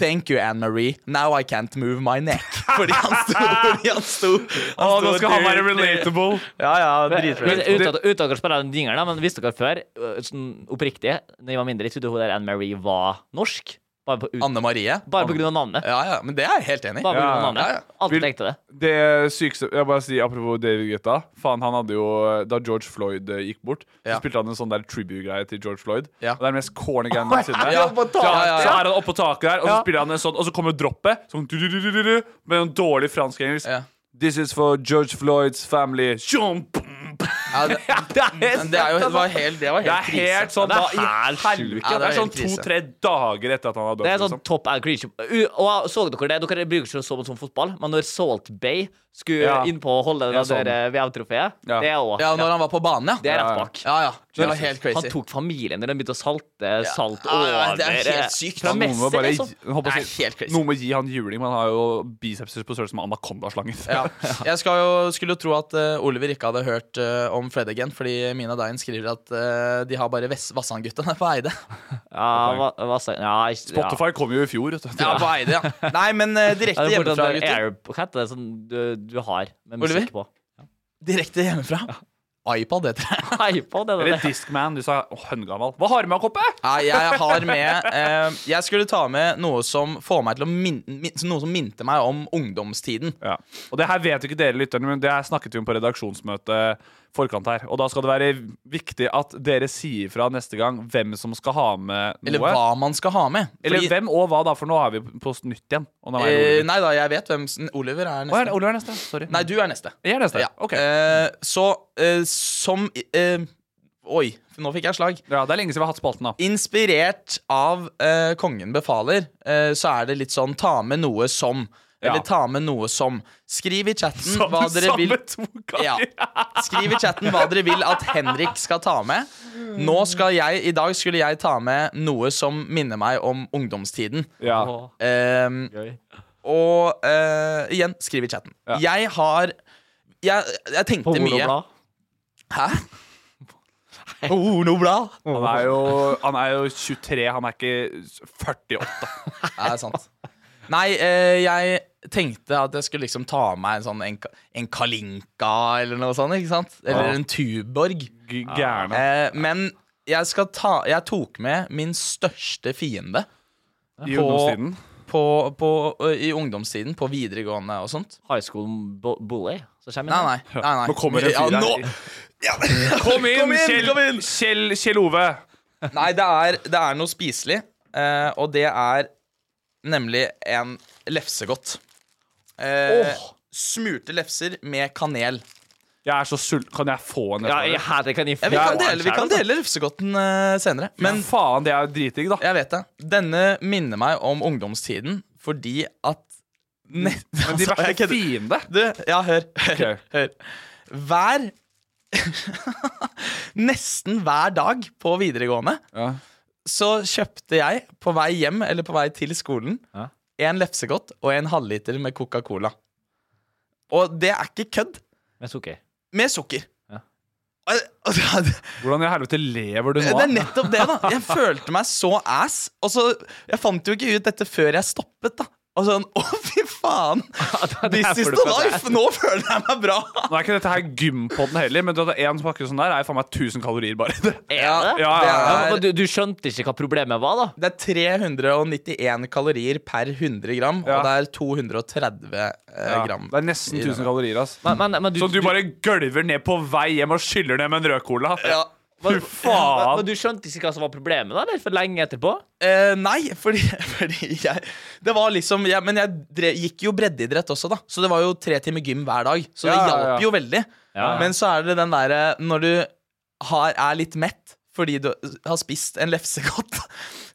S3: Thank you, Anne Marie. Now I can't move my neck. [laughs] Fordi han sto fordi han sto, han
S1: Å, nå
S3: sto
S1: skal han være
S3: dun, dun.
S1: relatable!
S3: Ja, ja,
S4: Men
S3: dritfett.
S4: Uten at- uten at dere spiller den jingeren, da, men visste dere før, øh, sånn oppriktig, da jeg var mindre, jeg trodde hun der Anne Marie var norsk. Bare på, ut,
S3: Anne Marie.
S4: bare på grunn av navnet.
S3: Ja, ja, men det er jeg helt enig i.
S4: Bare på grunn av
S3: Ja, ja.
S4: navnet. Alltid tenkte det.
S1: Det sykeste Jeg bare sier apropos David Guetta. Faen, han hadde jo Da George Floyd eh, gikk bort,
S3: Ja.
S1: så spilte han en sånn der tribute-greie til George Floyd.
S3: Ja.
S1: Og det er den mest corny greia noensinne.
S3: Ja, på taket.
S1: Så han-
S3: Ja, ja, ja.
S1: Så er han oppå taket der, og så spiller han en sånn, og så kommer droppet, sånn du-du-du-du-du, med en dårlig fransk-engelsk.
S3: Ja.
S1: This is for George Floyds family. Shum,
S4: [laughs]
S1: boom, boom.
S3: Ja,
S1: [laughs]
S3: det,
S1: Det er helt
S3: men det, er jo, det var helt, det var
S1: det er
S3: helt krise.
S1: helt sånn
S4: Det er
S1: da, i
S4: helt sjukt.
S1: helvete.
S3: Ja,
S1: Det
S3: det
S1: er
S3: er
S1: sånn
S3: helt krise.
S1: to-tre dager etter at han har dødd.
S4: Det er sånn
S1: liksom.
S4: top and creature. U- Og så dere det? Dere bruker ikke så mye som fotball, men når Salt Bay skulle
S1: Ja.
S4: innpå og holde
S1: Ja,
S4: det
S1: sånn.
S4: der eh, VM-trofeet,
S1: Ja.
S4: det er også
S3: Ja, når han var på banen,
S4: Det
S3: ja.
S4: er rett bak.
S3: Ja, ja. Det var helt
S4: Han
S3: crazy.
S4: tok familien når de begynte å salte salt
S3: Ja, Ah, ja,
S4: over
S3: det er helt sykt.
S4: Fra
S3: Ja,
S1: Noen må
S4: Messi,
S1: bare
S4: liksom.
S1: gi- jeg håper å
S3: altså. Det er
S1: si-
S3: helt crazy.
S1: Noen må gi han juling, men han har jo bicepser på størrelse med anakondaslanger.
S3: [laughs] Ja. Jeg skal jo, skulle jo tro at eh, Oliver ikke hadde hørt eh, om Fred again, fordi Mina Dine skriver at eh, de har bare Vess- Vassandguttene på Eide.
S4: Ja, hva, hva sa ja, ikke-
S1: [laughs]
S4: ja.
S1: Spotify kom jo i fjor. Vet du.
S3: [laughs] Ja, på Eide, [laughs] ja. Nei, men
S4: Ja,
S3: eh, direkte
S4: det er fortsatt en
S3: hjemmefra, gutter.
S4: air, hva heter det som du, du har med
S3: Oliver?
S4: musikk på?
S3: Direkte hjemmefra. iPad heter det. [laughs]
S4: iPod, er det
S1: Eller
S4: det?
S1: Discman. Du sa oh, høngammal. Hva har du med, Koppe?
S3: Nei, jeg har med eh, Jeg skulle ta med noe som får meg til å min, min, Noe som minte meg om ungdomstiden.
S1: Ja. Og det her vet jo ikke dere lytterne, men det her snakket vi om på redaksjonsmøtet forkant her. Og da skal det være viktig at dere sier fra neste gang hvem som skal ha med noe.
S3: Eller hva man skal ha med.
S1: Eller
S3: Fordi-
S1: hvem og hva, da, for nå er vi på oss nytt igjen. Og nå er det
S3: Eh,
S1: Oliver.
S3: nei da, jeg vet hvem s- Oliver
S1: Å,
S3: er
S1: er det
S3: neste.
S1: Oliver neste. Sorry.
S3: Nei, du er neste.
S1: Jeg er neste.
S3: Ja.
S1: Ok.
S3: Eh, så eh, som eh, Oi, nå fikk jeg slag.
S1: Ja, det er lenge siden vi har hatt spalten, da.
S3: Inspirert av eh, Kongen befaler, eh, så er det litt sånn ta med noe som.
S1: Ja.
S3: Eller ta med noe som. Skriv i chatten hva dere
S1: Samme
S3: vil.
S1: to ganger.
S3: Ja. Skriv i chatten hva dere vil at Henrik skal ta med. Nå skal jeg, I dag skulle jeg ta med noe som minner meg om ungdomstiden.
S1: Ja.
S4: Åh,
S3: Um,
S4: gøy.
S3: og eh, igjen, skriv i chatten.
S1: Ja.
S3: Jeg har Jeg, jeg
S4: På
S3: tenkte mye.
S4: Holoblad.
S3: Hæ?
S1: [laughs]
S3: [laughs] Pornoblad?
S1: Han er, jo, han er jo 23, han er ikke 48.
S3: Ja, det er sant. Nei, eh, jeg tenkte at jeg skulle liksom ta med en sånn en, en kalinka eller noe sånt. ikke sant? Eller
S1: Ja.
S3: en tuborg.
S1: G- Gærne.
S3: Eh, men jeg, skal ta, jeg tok med min største fiende
S1: I ungdomstiden.
S3: på, på, i ungdomstiden, på videregående og sånt.
S4: High School bu- Bully. Så kommer
S3: Nei,
S4: den.
S3: nei. nei, nei.
S1: Nå kommer det en
S3: ja,
S1: fyr her.
S3: nå. [laughs]
S1: Kom inn,
S3: Kom inn,
S1: Kjell,
S3: kom inn!
S1: Kjell, Kjell Ove!
S3: Nei, det er, det er noe spiselig, eh, og det er nemlig en lefsegodt. Eh, Smurte lefser med kanel.
S1: Jeg er så sulten. Kan jeg få en?
S4: Ja,
S1: etter
S4: jeg
S1: det?
S4: hater kan jeg
S3: Ja, vi,
S4: Ja,
S3: kan dele, vi kan dele refsegodten eh, senere. Men
S1: Men faen, det er jo dritdigg, da.
S3: jeg vet det. Denne minner meg om ungdomstiden fordi at Altså, Ne [laughs]
S1: Men de verste
S3: jeg kødder.
S1: fiende?
S3: Du, ja, hør. Hør. hør. Hver [laughs] Nesten hver dag på videregående så kjøpte jeg på vei hjem eller på vei til skolen en lefsegodt og en halvliter med Coca-Cola. Og det er ikke kødd.
S4: Med sukker.
S3: Med sukker.
S1: Hvordan i helvete lever du nå?
S3: Det er
S1: [laughs]
S3: nettopp det, da. Jeg følte meg så ass. Og så, Jeg fant jo ikke ut dette før jeg stoppet, da. Og sånn, [laughs] Å, fy faen! This is the life! Nå føler jeg meg bra.
S1: Nå er ikke dette her gympodden heller, men du hadde én pakke sånn der, er faen meg 1000 kalorier bare.
S4: Ja,
S1: ja, ja.
S4: men du, du skjønte ikke hva problemet var, da?
S3: Det er 391 kalorier per 100 gram, og det er 230 eh,
S1: Ja,
S3: gram.
S1: Det er nesten 1000 kalorier, ass.
S4: Men, men, men du,
S1: Som du bare gølver ned på vei hjem og skyller ned med en rød cola.
S3: Ja.
S1: Fy
S4: men,
S1: faen!
S4: men du skjønte ikke hva som var problemet, da? Eller for lenge etterpå?
S3: [laughs] Eh, nei, fordi, [laughs] fordi jeg Det var liksom jeg, Men jeg drev, gikk jo breddeidrett også, da. Så det var jo tre timer gym hver dag. Så det
S1: Ja,
S3: hjalp
S1: ja, ja.
S3: jo veldig.
S4: Ja, ja.
S3: Men så er det den derre når du har, er litt mett fordi du har spist en lefsegodt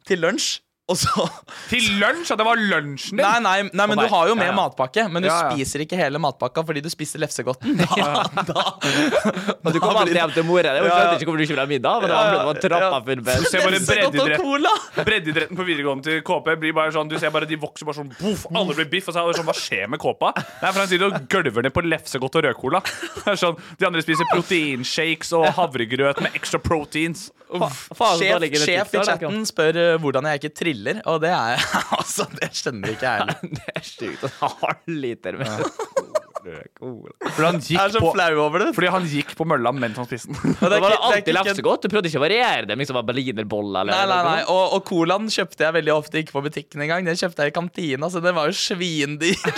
S3: [laughs] til lunsj, og så
S1: Til lunsj? Ja, det var lunsjen din?
S3: Nei, nei, nei,
S1: Å,
S3: men
S1: nei.
S3: du har jo med
S1: Ja, ja.
S3: matpakke, men du
S1: Ja, ja.
S3: spiser ikke hele matpakka fordi du spiste lefsegodten. [laughs] Da, da,
S4: Og du kom
S3: Da
S4: alltid
S3: blir-
S4: hjem til mora di og
S3: Ja, ja.
S4: skjønte ikke hvorfor du ikke ville ha middag. Men det var, det var trappa full
S3: [laughs]
S1: Du ser bare
S3: Lefsegodt og
S1: breddeidrett.
S3: cola!
S1: Breddeidretten på videregående til KP blir bare sånn Du ser bare de vokser bare sånn boff, alle blir biff, og så er det sånn Hva skjer med kåpa? Nei, for han sitter og gølver ned på lefsegodt og rødcola. Det er Sånn, de andre spiser proteinshakes og havregrøt med extra proteins.
S4: faen, da
S3: Sjef,
S4: ligger det
S3: sjef i
S4: TikTok, da,
S3: chatten spør eh, hvordan jeg ikke triller, og det er [laughs] jeg. altså, det skjønner ikke jeg heller.
S4: Det er sjukt. En halv liter med
S1: Fordi han
S3: Jeg er
S1: gikk
S3: så
S1: på,
S3: flau over det.
S1: fordi han gikk på mølla mens han spiste den.
S4: Da
S3: Og
S4: var det
S3: ikke-
S4: alltid
S3: det er ikke-
S4: lefsegodt. Du prøvde ikke å variere dem. Liksom var berlinerbolle eller
S3: Nei, nei, nei.
S4: noe.
S3: Og, og colaen kjøpte jeg veldig ofte ikke på butikken engang. Den kjøpte jeg i kantina, så den var jo svindyr.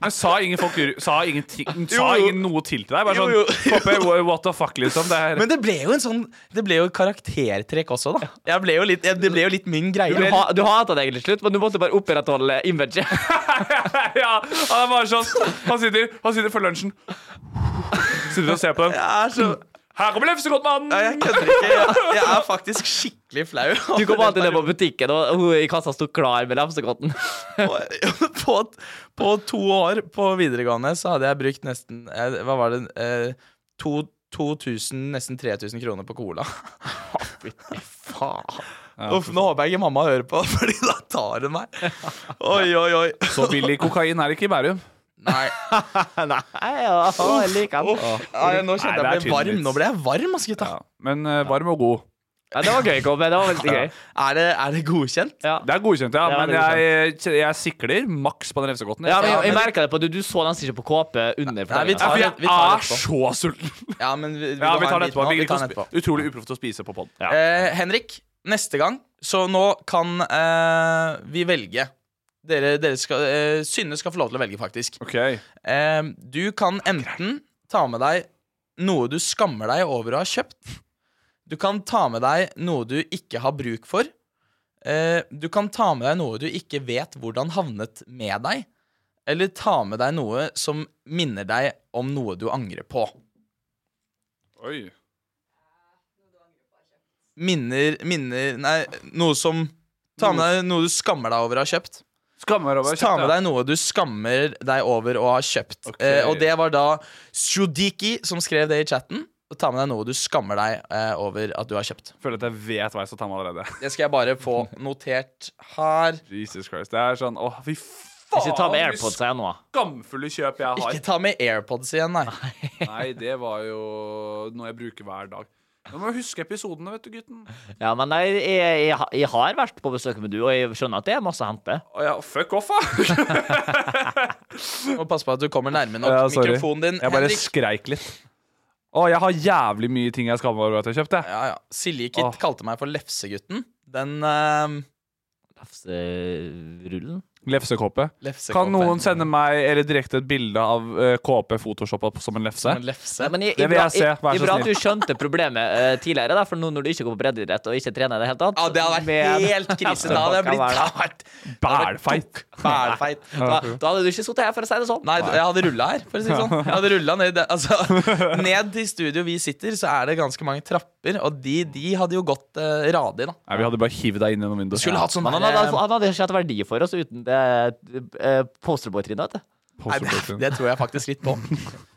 S1: Men sa ingen folk sa ingenting Sa
S3: Jo, jo.
S1: ingen noe til til deg? Bare
S3: Jo,
S1: sånn
S3: jo.
S1: KP, what the fuck, liksom. Det er
S3: Men det ble jo en sånn Det ble jo karaktertrekk også, da. Jeg ble jo litt, jeg, det ble jo litt min greie.
S4: Du, ha, du hatet det egentlig til slutt, men du måtte bare opprettholde
S3: [laughs]
S4: imaget.
S1: [laughs] ja, han er bare sånn Han sitter, han sitter for lunsjen Sitter og ser på den
S3: Jeg er så
S1: Her kommer lefsegodt-mannen
S3: Nei, Jeg kødder ikke. Jeg, jeg er faktisk skikkelig flau.
S4: Du kom alltid ned på butikken, og hun i kassa sto klar med
S3: [laughs]
S4: lefsegodten.
S3: på, på, på to år på videregående så hadde jeg brukt nesten eh, Hva var det? Eh, to, 2000, nesten 3000 kroner på cola. Fy faen. Uff, nå håper jeg ikke mamma hører på, [laughs] Fordi da tar hun meg. Oi, oi, oi.
S1: Så billig kokain er det ikke i Bærum
S3: Nei.
S4: Nei, ja, jeg liker den.
S3: Nei, nå kjente
S1: Nei, det er
S3: jeg ble varm.
S1: tynn
S3: Nå ble jeg varm, ass, gutta.
S1: ja. Men eh, varm og god
S4: Ja, det var gøy, Kobbe. Det var veldig gøy.
S3: Er, det, er det godkjent?
S4: Ja.
S1: Det er godkjent, ja
S4: Det er
S1: Men jeg, jeg sikler maks på den lefsegodten
S4: Ja, men
S1: jeg,
S4: jeg, jeg merket det på du, du så nesten ikke på kåpe under
S3: Nei, vi
S1: Ja,
S4: fordelingen.
S3: tar
S1: for
S3: det,
S1: jeg
S3: vi tar
S1: er
S3: det etterpå.
S1: så sulten
S3: Ja, men vi, vi,
S1: Ja, vi
S3: tar
S1: tar
S3: den
S1: det etterpå,
S3: etterpå.
S1: Vi
S3: Vi tar
S1: kan
S3: den etterpå.
S1: spi- Utrolig uproft å spise på podden
S3: Eh, Henrik, neste gang Så nå kan eh, vi velge dere, dere skal, eh, Synne skal få lov til å velge faktisk
S1: Ok
S3: eh, Du kan enten ta med deg Noe du skammer deg over å ha kjøpt Du kan ta med deg Noe du ikke har bruk for eh, Du kan ta med deg noe du ikke vet Hvordan havnet med deg Eller ta med deg noe som minner deg Om noe du angrer på
S1: Oi
S3: Minner, minner Nei, noe som Ta med deg noe du skammer deg over å ha kjøpt.
S1: Skammer over å
S3: Ta
S1: kjøpe,
S3: med
S1: ja.
S3: deg noe du skammer deg over å ha kjøpt.
S1: Ok.
S3: Eh, og det var da Sjodiki som skrev det i chatten. Og ta med deg noe du skammer deg eh, over at du har kjøpt.
S1: Føler at jeg vet hva jeg skal ta med allerede [laughs]
S3: Det skal jeg bare få notert her.
S1: Jesus Christ Det er sånn Åh, fy faen
S4: Ikke ta med
S1: hvor
S4: AirPods her nå.
S1: Skamfulle kjøp jeg har
S3: Ikke ta med AirPods igjen, nei.
S1: Nei, det var jo noe jeg bruker hver dag. Nå må jeg huske episodene, vet du, gutten.
S4: Ja, men jeg, jeg, jeg, har- jeg har vært på besøk med du, og jeg skjønner at det er masse å hente.
S1: Å ja, fuck off, da!
S3: Må passe på at du kommer nærme nok
S1: Ja, sorry.
S3: mikrofonen din.
S1: Jeg bare
S3: Henrik.
S1: skreik litt. Å, jeg har jævlig mye ting jeg skammer meg over at jeg kjøpte.
S3: Ja, ja. Silje Kitt
S1: Åh.
S3: kalte meg for Lefsegutten. Den eh,
S4: Lefserullen?
S1: Lefsekåpe.
S3: lefsekåpen.
S1: Kan noen sende meg eller direkte et bilde av eh, KP photoshoppa på- som en lefse?
S3: Som en
S4: Nei,
S3: lefse?
S4: men jeg,
S1: Det vil
S4: bra-
S1: jeg se, vær så
S4: bra at
S1: snill.
S4: du skjønte problemet eh, tidligere, da, for nå når du ikke går på breddeidrett og ikke trener i det hele tatt
S3: Ja, det hadde vært
S4: med- [laughs]
S3: helt krise. Da hadde jeg blitt
S4: Hva er det?
S3: tatt.
S1: Bælfeit.
S3: Bælfeit.
S4: da, da hadde du ikke sittet her, for å si det sånn.
S3: Nei, jeg hadde rulla her, for å si det sånn. Jeg hadde rullet ned, altså, ned til studio vi sitter, så er det ganske mange trapper, og de, de hadde jo gått eh, radig, da.
S1: Nei, vi hadde bare hivd deg inn gjennom vinduet.
S3: Skulle hatt sånn
S4: Men han
S3: der,
S4: hadde,
S3: eh,
S4: han hadde ikke hatt verdi for oss uten det beste eh, posterboy-trynet, vet du.
S3: Nei, det, det tror jeg faktisk litt på.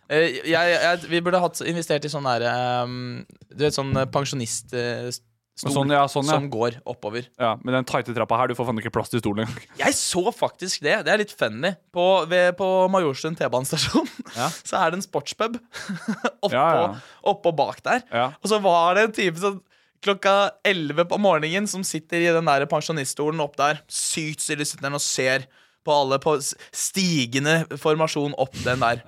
S3: Eh, jeg, jeg, vi burde hatt investert i sånn derre um, Du vet, sånn pensjoniststol
S1: Sånn, ja, sånn, ja.
S3: som går oppover.
S1: Ja, Med den tighte trappa her, du får faen ikke plass til stolen engang.
S3: Jeg så faktisk det. Det er litt funny. På, ved, på Majorstuen T-banestasjon [laughs] så er det en sportspub [laughs] oppå,
S1: Ja, ja.
S3: oppå bak der. Og så var det en type som klokka 11 på morgenen som sitter i den der pensjoniststolen opp der, sykt stille sitter han og ser på alle på s- stigende formasjon opp
S1: [laughs]
S3: den der.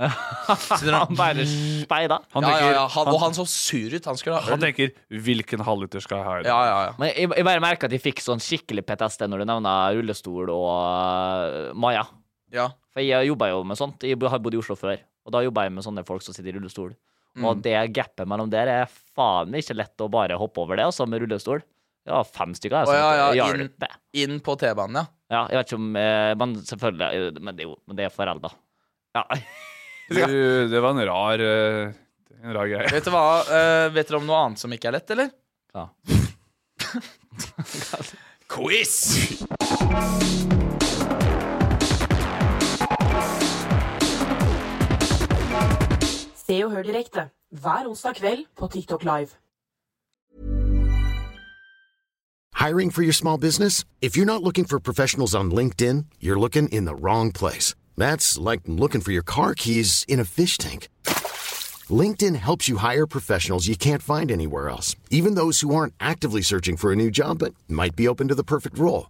S3: Sitter han
S4: bare speida.
S1: Han
S3: ja, ja, ja.
S1: tenker-
S3: Han, og
S1: han-
S3: han så sur ut. Han skulle ha
S1: Han
S3: øl.
S1: tenker 'hvilken halvliter skal jeg ha i dag?'
S3: Ja, ja, ja.
S4: Men jeg, jeg bare merker at jeg fikk sånn skikkelig PTSD når du nevner rullestol og eh, Maja.
S3: ja.
S4: For jeg jobba jo med sånt. Jeg har bodd i Oslo før, og da jobba jeg med sånne folk som sitter i rullestol. Og
S3: Mm.
S4: det gapet mellom der er faen ikke lett å bare hoppe over det, altså, med rullestol. Ja, fem stykker.
S3: Å,
S4: Altså,
S3: ja, ja, inn,
S4: Hjelpe.
S3: inn på T-banen, ja.
S4: Ja, jeg vet ikke om eh, Men selvfølgelig eh, Men det er jo men det er foreldre. Ja. [laughs]
S1: Du, det var en rar, eh, en rar greie.
S3: Vet du hva, eh, vet dere om noe annet som ikke er lett, eller?
S4: Ja.
S3: [laughs] Quiz!
S2: Se og hør direkte hver onsdag kveld på TikTok Live.
S6: Hiring for your small business? If you're not looking for professionals on LinkedIn, you're looking in the wrong place. That's like looking for your car keys in a fish tank. LinkedIn helps you hire professionals you can't find anywhere else, even those who aren't actively searching for a new job but might be open to the perfect role.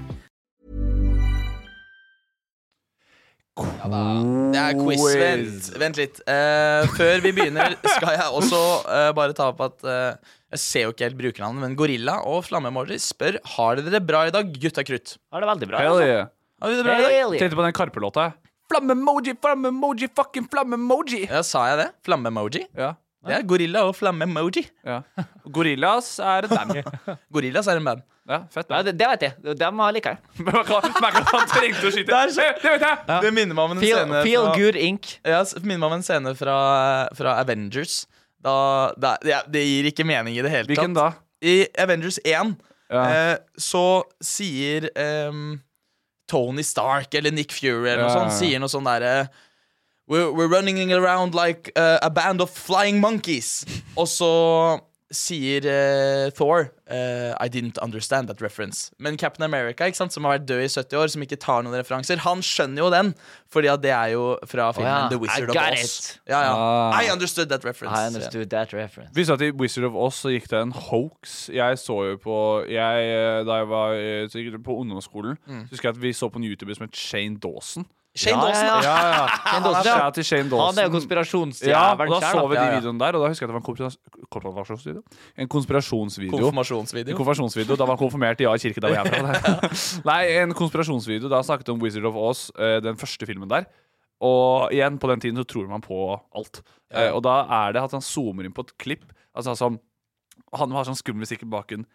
S3: Det er quiz. Vent, vent litt. Eh, før vi begynner, skal jeg også eh, bare ta opp at eh, Jeg ser jo ikke helt brukernavnet, men Gorilla og Flammeemoji spør Har dere det bra i dag, gutta krutt.
S4: Har det veldig bra.
S1: Hell
S4: altså.
S1: yeah.
S3: Har vi det bra i dag?
S4: Hell yeah.
S1: Tenkte på den Karpe-låta.
S3: Flammemoji, flammemoji, fucking flammemoji. Ja, sa jeg det? Flammemoji?
S1: Ja.
S3: Det er Gorilla og flammemoji.
S1: Ja. Gorillas er et
S4: [laughs]
S1: band.
S3: Gorillas er en band.
S1: Ja, fett.
S4: Ja,
S1: [laughs]
S4: det, det vet jeg. Dem liker jeg.
S1: Merka at han trengte å skyte.
S3: Der,
S1: Det, det vet jeg!
S3: Det minner meg om en
S4: Feel,
S3: scene
S4: feel
S3: fra-
S4: good ink.
S3: Ja, s- minner meg om en scene fra, fra Avengers. Da, da, ja, det gir ikke mening i det hele
S1: Hvilken
S3: tatt.
S1: da?
S3: I Avengers 1
S1: Ja.
S3: eh, så sier ehm, Tony Stark eller Nick Fury eller noe
S1: Ja, ja,
S3: sånt,
S1: ja.
S3: sier noe sånn derre we're, we're running around like eh, a band of flying
S4: [laughs]
S3: monkeys. Og så sier eh, Thor eh, I didn't understand that reference. Men Captain America, ikke sant, som har vært død i 70 år, som ikke tar noen referanser, han skjønner jo den. Fordi at det er jo fra filmen
S4: ja.
S3: The
S4: I
S3: Wizard of
S4: got
S3: Oz.
S4: it.
S3: Ja, ja.
S1: Ah.
S3: I understood that reference.
S4: I understood that reference.
S1: Visste at i Wizard of Oz så gikk det en hoax. Jeg så jo på jeg, eh, Da jeg var eh, sikkert på ungdomsskolen, så husker jeg at vi så på en YouTuber som het Shane Dawson.
S3: Shane
S4: Mm. Ja,
S3: Dawson,
S4: ja, ja.
S3: da.
S4: Shane
S1: Han er
S4: Dawson, ja.
S1: shout til Shane
S4: Han er jo
S1: Dawson. Ja, og
S4: konspirasjonsjævelen
S1: da så vi de
S4: da.
S3: ja.
S1: videoene der, og da husker jeg at det var en konspirasjon- konspirasjonsvideo. En konspirasjonsvideo. En
S3: Konfirmasjonsvideo.
S1: konfirmasjonsvideo. Da var han konfirmert i Ja i kirke der hvor jeg er fra. Nei, en konspirasjonsvideo. Da snakket de om Wizard of Oz, eh, den første filmen der. Og igjen, på den tiden så tror man på alt. Eh, Og da er det at han zoomer inn på et klipp. Altså sånn Han har sånn skummel musikk i baken.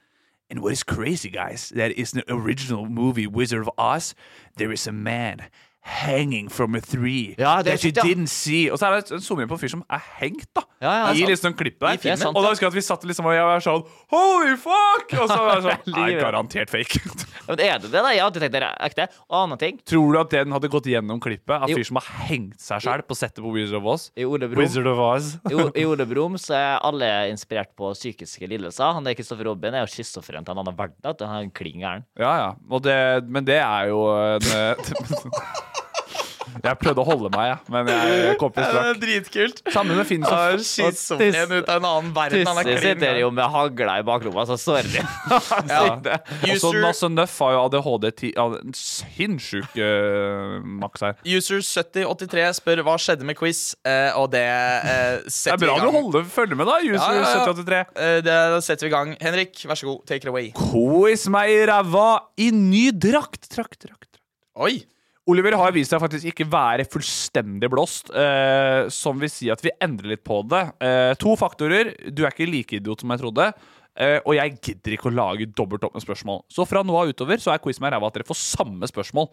S1: And what is crazy, guys, that is the original movie Wizard of Oz. There is a man hanging from a tree
S4: Ja, det er
S1: that you
S4: sant, ja.
S1: didn't see. Og så er det en zoomer inn på en fyr som er hengt, da.
S4: Ja, ja,
S1: I
S4: sant.
S1: liksom klippet
S4: I
S1: der.
S4: filmen. Det er sant,
S1: og da
S4: ja.
S1: husker jeg at vi satt liksom og jeg var sånn Holy fuck! Og så var jeg sånn
S4: Livet.
S1: Nei, garantert fake. [laughs]
S4: Men er det det, da? Jeg har alltid tenkt det er ekte. Annen ting.
S1: Tror du at den hadde gått gjennom klippet? Av
S4: Jo.
S1: fyr som har hengt seg sjæl på settet på Wizard of Oz?
S4: Brom.
S1: Wizard of Oz.
S4: I O- I Ole Brumm så er alle inspirert på psykiske lidelser. Han der Kristoffer Robin er jo schizofren til en annen verden. at Han er klin gæren.
S1: Ja, ja. Og det, men det er jo en eh, [laughs] Jeg prøvde å holde meg, jeg, men jeg, jeg kom til
S3: Ja,
S1: strakk.
S3: [laughs] det er [laughs] dritkult.
S1: Sammen med Finn som-
S3: Ja,
S1: og
S3: Schizofren
S1: Tis-
S3: ut av en annen verden. Han er
S4: Tussi
S3: klin
S4: sitter
S3: gæren.
S4: jo med hagla i baklomma, så
S1: [laughs]
S4: sorry.
S1: Ja. Og så
S3: User-
S1: Nasse Nøff har jo ADHD ti- ja, en Sinnssyk eh, maks her.
S3: User7083 spør hva skjedde med quiz, eh, og det eh,
S1: [laughs] Det
S3: setter
S1: er bra
S3: vi i gang.
S1: du holder- følger med, da, User7083.
S3: Eh, det setter vi i gang. Henrik, vær så god. Take it away.
S1: Kois meg i ræva i ny drakt. Trakt, trakt, trakt.
S3: Oi.
S1: Oliver har vist seg faktisk ikke være fullstendig blåst, eh, som vil si at vi endrer litt på det. Eh, to faktorer. Du er ikke like idiot som jeg trodde. eh, og jeg gidder ikke å lage dobbelt opp med spørsmål. Så fra nå av utover så er quiz meg i ræva at dere får samme spørsmål.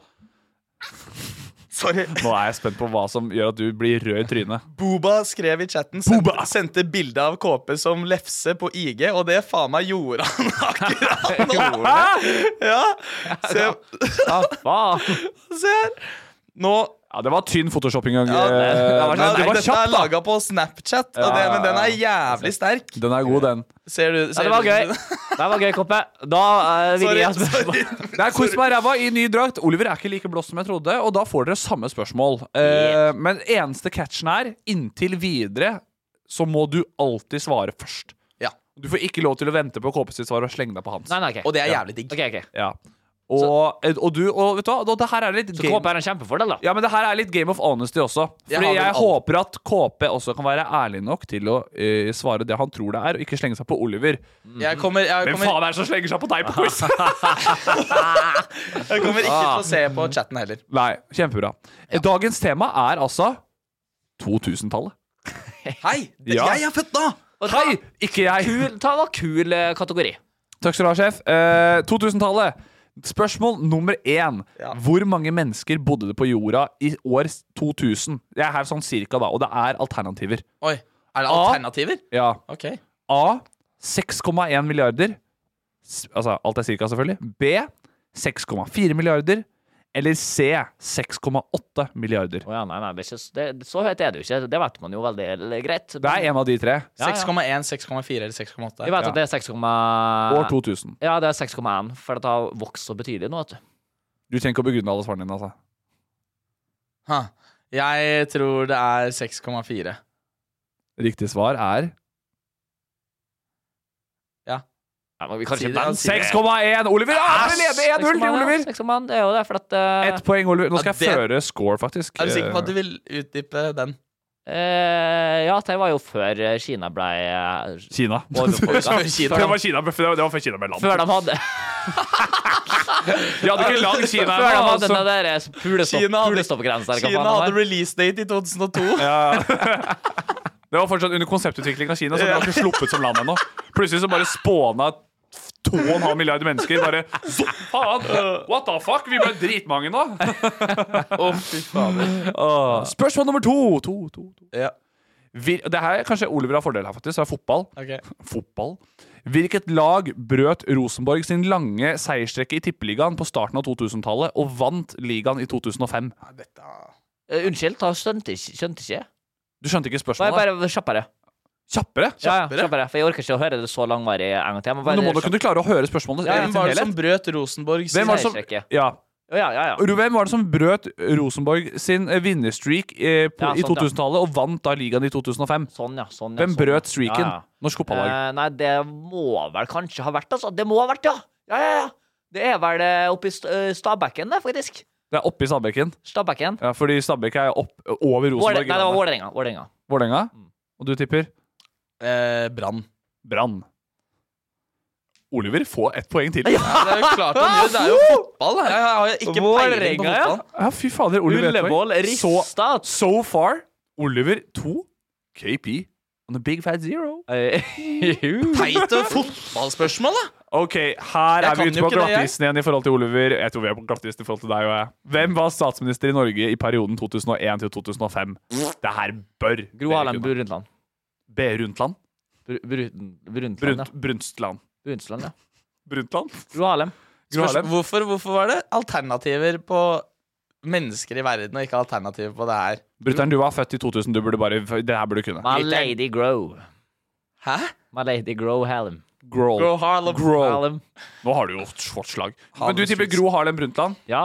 S3: Sorry.
S1: Nå er jeg spent på [laughs] hva som gjør at du blir rød i trynet. [laughs]
S3: Booba skrev i chatten sendte, sendte bilde av KP som lefse på IG, og det faen meg gjorde han [laughs] akkurat nå. ja. Se, se her. Nå
S1: Ja, det var tynn photoshopping. Ja,
S3: Ja, det-
S1: men du var
S3: Dette er
S1: kjapp, da.
S3: laga på Snapchat, og
S1: Ja,
S3: det,
S1: ja,
S3: men den er
S1: ja.
S3: jævlig sterk.
S1: Den er god, den.
S3: Ser du,
S4: Ja,
S3: ser
S4: det var
S3: du-
S4: gøy. Det
S3: [laughs]
S4: var gøy, Koppe. Da eh,
S1: [laughs]
S4: vil jeg
S1: altså.
S4: spørre
S1: Det er quiz med ræva i ny drakt. Oliver er ikke like blåst som jeg trodde, og da får dere samme spørsmål. Eh, Men eneste catchen er, inntil videre så må du alltid svare først.
S3: Ja.
S1: Du får ikke lov til å vente på KP sitt svar og slenge deg på hans.
S4: Nei, nei, ok.
S3: Og det er
S1: Ja.
S3: jævlig digg.
S4: Ok, ok.
S1: Ja. Og, eh, og du, og vet du hva, det her er litt
S4: Så Koppe er en kjempefordel, da.
S1: Ja, men det her er litt game of honesty også.
S3: Jeg
S1: Fordi
S3: har
S1: jeg,
S3: vel aldri-
S1: håper at KP også kan være ærlig nok til å eh, svare det han tror det er, og ikke slenge seg på Oliver.
S3: Jeg kommer, jeg,
S1: Hvem
S3: kommer,
S1: Mm. faen er det som slenger seg på deg på
S3: [laughs]
S1: quiz?
S3: jeg kommer ikke til å se
S1: Ah.
S3: på chatten heller.
S1: Nei, kjempebra. Dagens tema er altså 2000-tallet.
S3: Hei! Det,
S1: Ja.
S3: Jeg er født da!
S1: Hei, ikke jeg!
S4: Kul, ta var kul eh, kategori.
S1: Takk skal du ha, sjef. Eh, 2000-tallet. Spørsmål nummer én.
S3: Ja.
S1: Hvor mange mennesker bodde det på jorda i år 2000? Det er her sånn cirka, da, og det er alternativer.
S3: Oi. Er det alternativer?
S1: Ah. Ja.
S3: Ok.
S1: A 6,1 milliarder. S- Altså alt er cirka, selvfølgelig. B 6,4 milliarder. Eller C 6,8 milliarder.
S4: Å ja, nei, nei, det er ikke, det, så høyt er det jo ikke. Det vet man jo veldig eller, greit.
S1: Det er en av de tre.
S4: Ja, ja.
S3: 6,1, 6,4 eller 6,8?
S4: Vi vet at det er 6,
S1: År 2000.
S4: Ja, det er 6,1, for det har vokst så betydelig nå, vet du.
S1: Du trenger ikke å begrunne alle svarene dine. altså
S3: Ha. Jeg tror det er 6,4.
S1: Riktig svar er
S4: Nei, men vi kan
S3: Si
S4: ikke
S3: det,
S4: vente.
S3: si det.
S1: 6,1! Oliver ah, vi leder 1-0 til
S4: 6,1, ja.
S1: Oliver!
S4: 6,1, det er jo det, for at eh,
S1: Ett poeng, Oliver. Nå skal
S3: Ja,
S1: jeg
S3: det-
S1: føre score, faktisk. Eh,
S3: Er du sikker på at du vil utdype den?
S4: eh, Ja, det var jo før eh, Kina ble eh,
S1: Kina. [laughs]
S4: overfolka.
S3: Før Kina.
S1: Det var Kina, det var før Kina ble land.
S4: Før de
S1: [laughs]
S4: hadde
S1: Vi hadde ikke land Kina
S4: Før
S1: ennå,
S4: de hadde
S1: altså.
S4: den der eh, pulestopp-
S3: Kina hadde-
S4: pulestoppgrensa. eller hva faen
S3: Kina
S4: det
S3: hadde
S4: var.
S3: release date i
S1: [laughs]
S3: 2002.
S1: Det var fortsatt under konseptutvikling av Kina, så de har ikke sluppet som land ennå. Plutselig så bare spåna 2,5 milliarder mennesker. Bare så faen! What the fuck? Vi ble dritmange nå.
S3: Å, fy fader.
S1: Åh. Spørsmål nummer to. to, to, to.
S3: Ja.
S1: Vir det her er kanskje Oliver har fordel her, faktisk. Det er fotball.
S3: Ok.
S1: Fotball. Hvilket lag brøt Rosenborg sin lange seierstrekke i Tippeligaen på starten av 2000-tallet og vant ligaen i 2005?
S4: Eh, Unnskyld, ta, skjønte ikke. Skjønte ikke.
S1: Du skjønte ikke
S4: Bare,
S1: spørsmålet?
S4: bare kjappere.
S1: Kjappere?
S4: Ja, ja, kjappere. For jeg orker ikke å høre det så langvarig en gang til. Jeg må
S1: Men
S4: bare
S1: Nå må du kunne klare å høre spørsmålet.
S3: Ja,
S1: i
S3: Hvem
S1: sin
S3: var det
S1: helhet.
S3: som brøt Rosenborg sin
S1: Hvem var det som
S4: Seierstrekke.
S1: Ja.
S4: Å, Ja, ja, ja.
S1: Ru- Hvem var det som brøt Rosenborg sin eh, vinnerstreak eh, på,
S4: Ja,
S1: i
S4: sånn, ja.
S1: 2000-tallet og vant da ligaen i 2005?
S4: Sånn, ja. Sånn, ja
S1: Hvem
S4: sånn,
S1: brøt
S4: ja.
S1: streaken?
S4: Ja, ja.
S1: Norsk fotballag.
S4: Eh, nei, det må vel kanskje ha vært, altså. Det må ha vært, ja! Ja, ja, ja. Det er vel eh, oppe i St eh, Stabækken, det, faktisk.
S1: Det er oppe i Stabækken.
S4: Stabækken.
S1: Ja, fordi Stabæk er opp, over
S4: Våle- Mm.
S1: Rosenborg.
S4: Nei, det var Vålerenga. Vålerenga.
S1: Vålerenga. Og du tipper?
S3: Eh, Brann.
S1: Brann. Oliver får ett poeng til.
S3: Ja, det er jo klart han gjør. Det er jo fotball. da. Jeg har ikke peiling på
S4: Vålerenga, ja.
S3: fotball.
S1: Ja, fy fader. Oliver ett poeng.
S4: Ullevål
S1: Så,
S4: rista.
S1: so far Oliver to, Eh, KP on the big fat zero. [laughs]
S3: Teit og fotballspørsmål, da!
S1: Ok, her er
S3: kan
S1: vi ute
S3: jo
S1: på
S3: ikke det, jeg.
S1: glattisen igjen i forhold til Oliver. Jeg tror vi er på glattisen i forhold til deg og jeg. Hvem var statsminister i Norge i perioden 2001 til 2005? Det her bør
S4: Gro Harlem Brundtland.
S1: B. Rundtland?
S4: Br- Brun- Brundtland, ja.
S1: Brunt, Brunstland.
S4: Brundtland, ja.
S1: Bruntland?
S4: Gro Harlem.
S3: Gro Harlem. Hvorfor, hvorfor var det alternativer på mennesker i verden, og ikke alternativer på det her?
S1: Brutter'n, du var født i 2000. Du burde bare, det her burde du kunne.
S4: My Lady Grow.
S3: Hæ?
S4: My Lady Grow Hallam.
S1: Grow.
S4: Grow Harlem.
S1: Grow.
S4: Harlem.
S1: Nå har du jo fått slag. Men du tipper Gro Harlem Brundtland?
S4: Ja.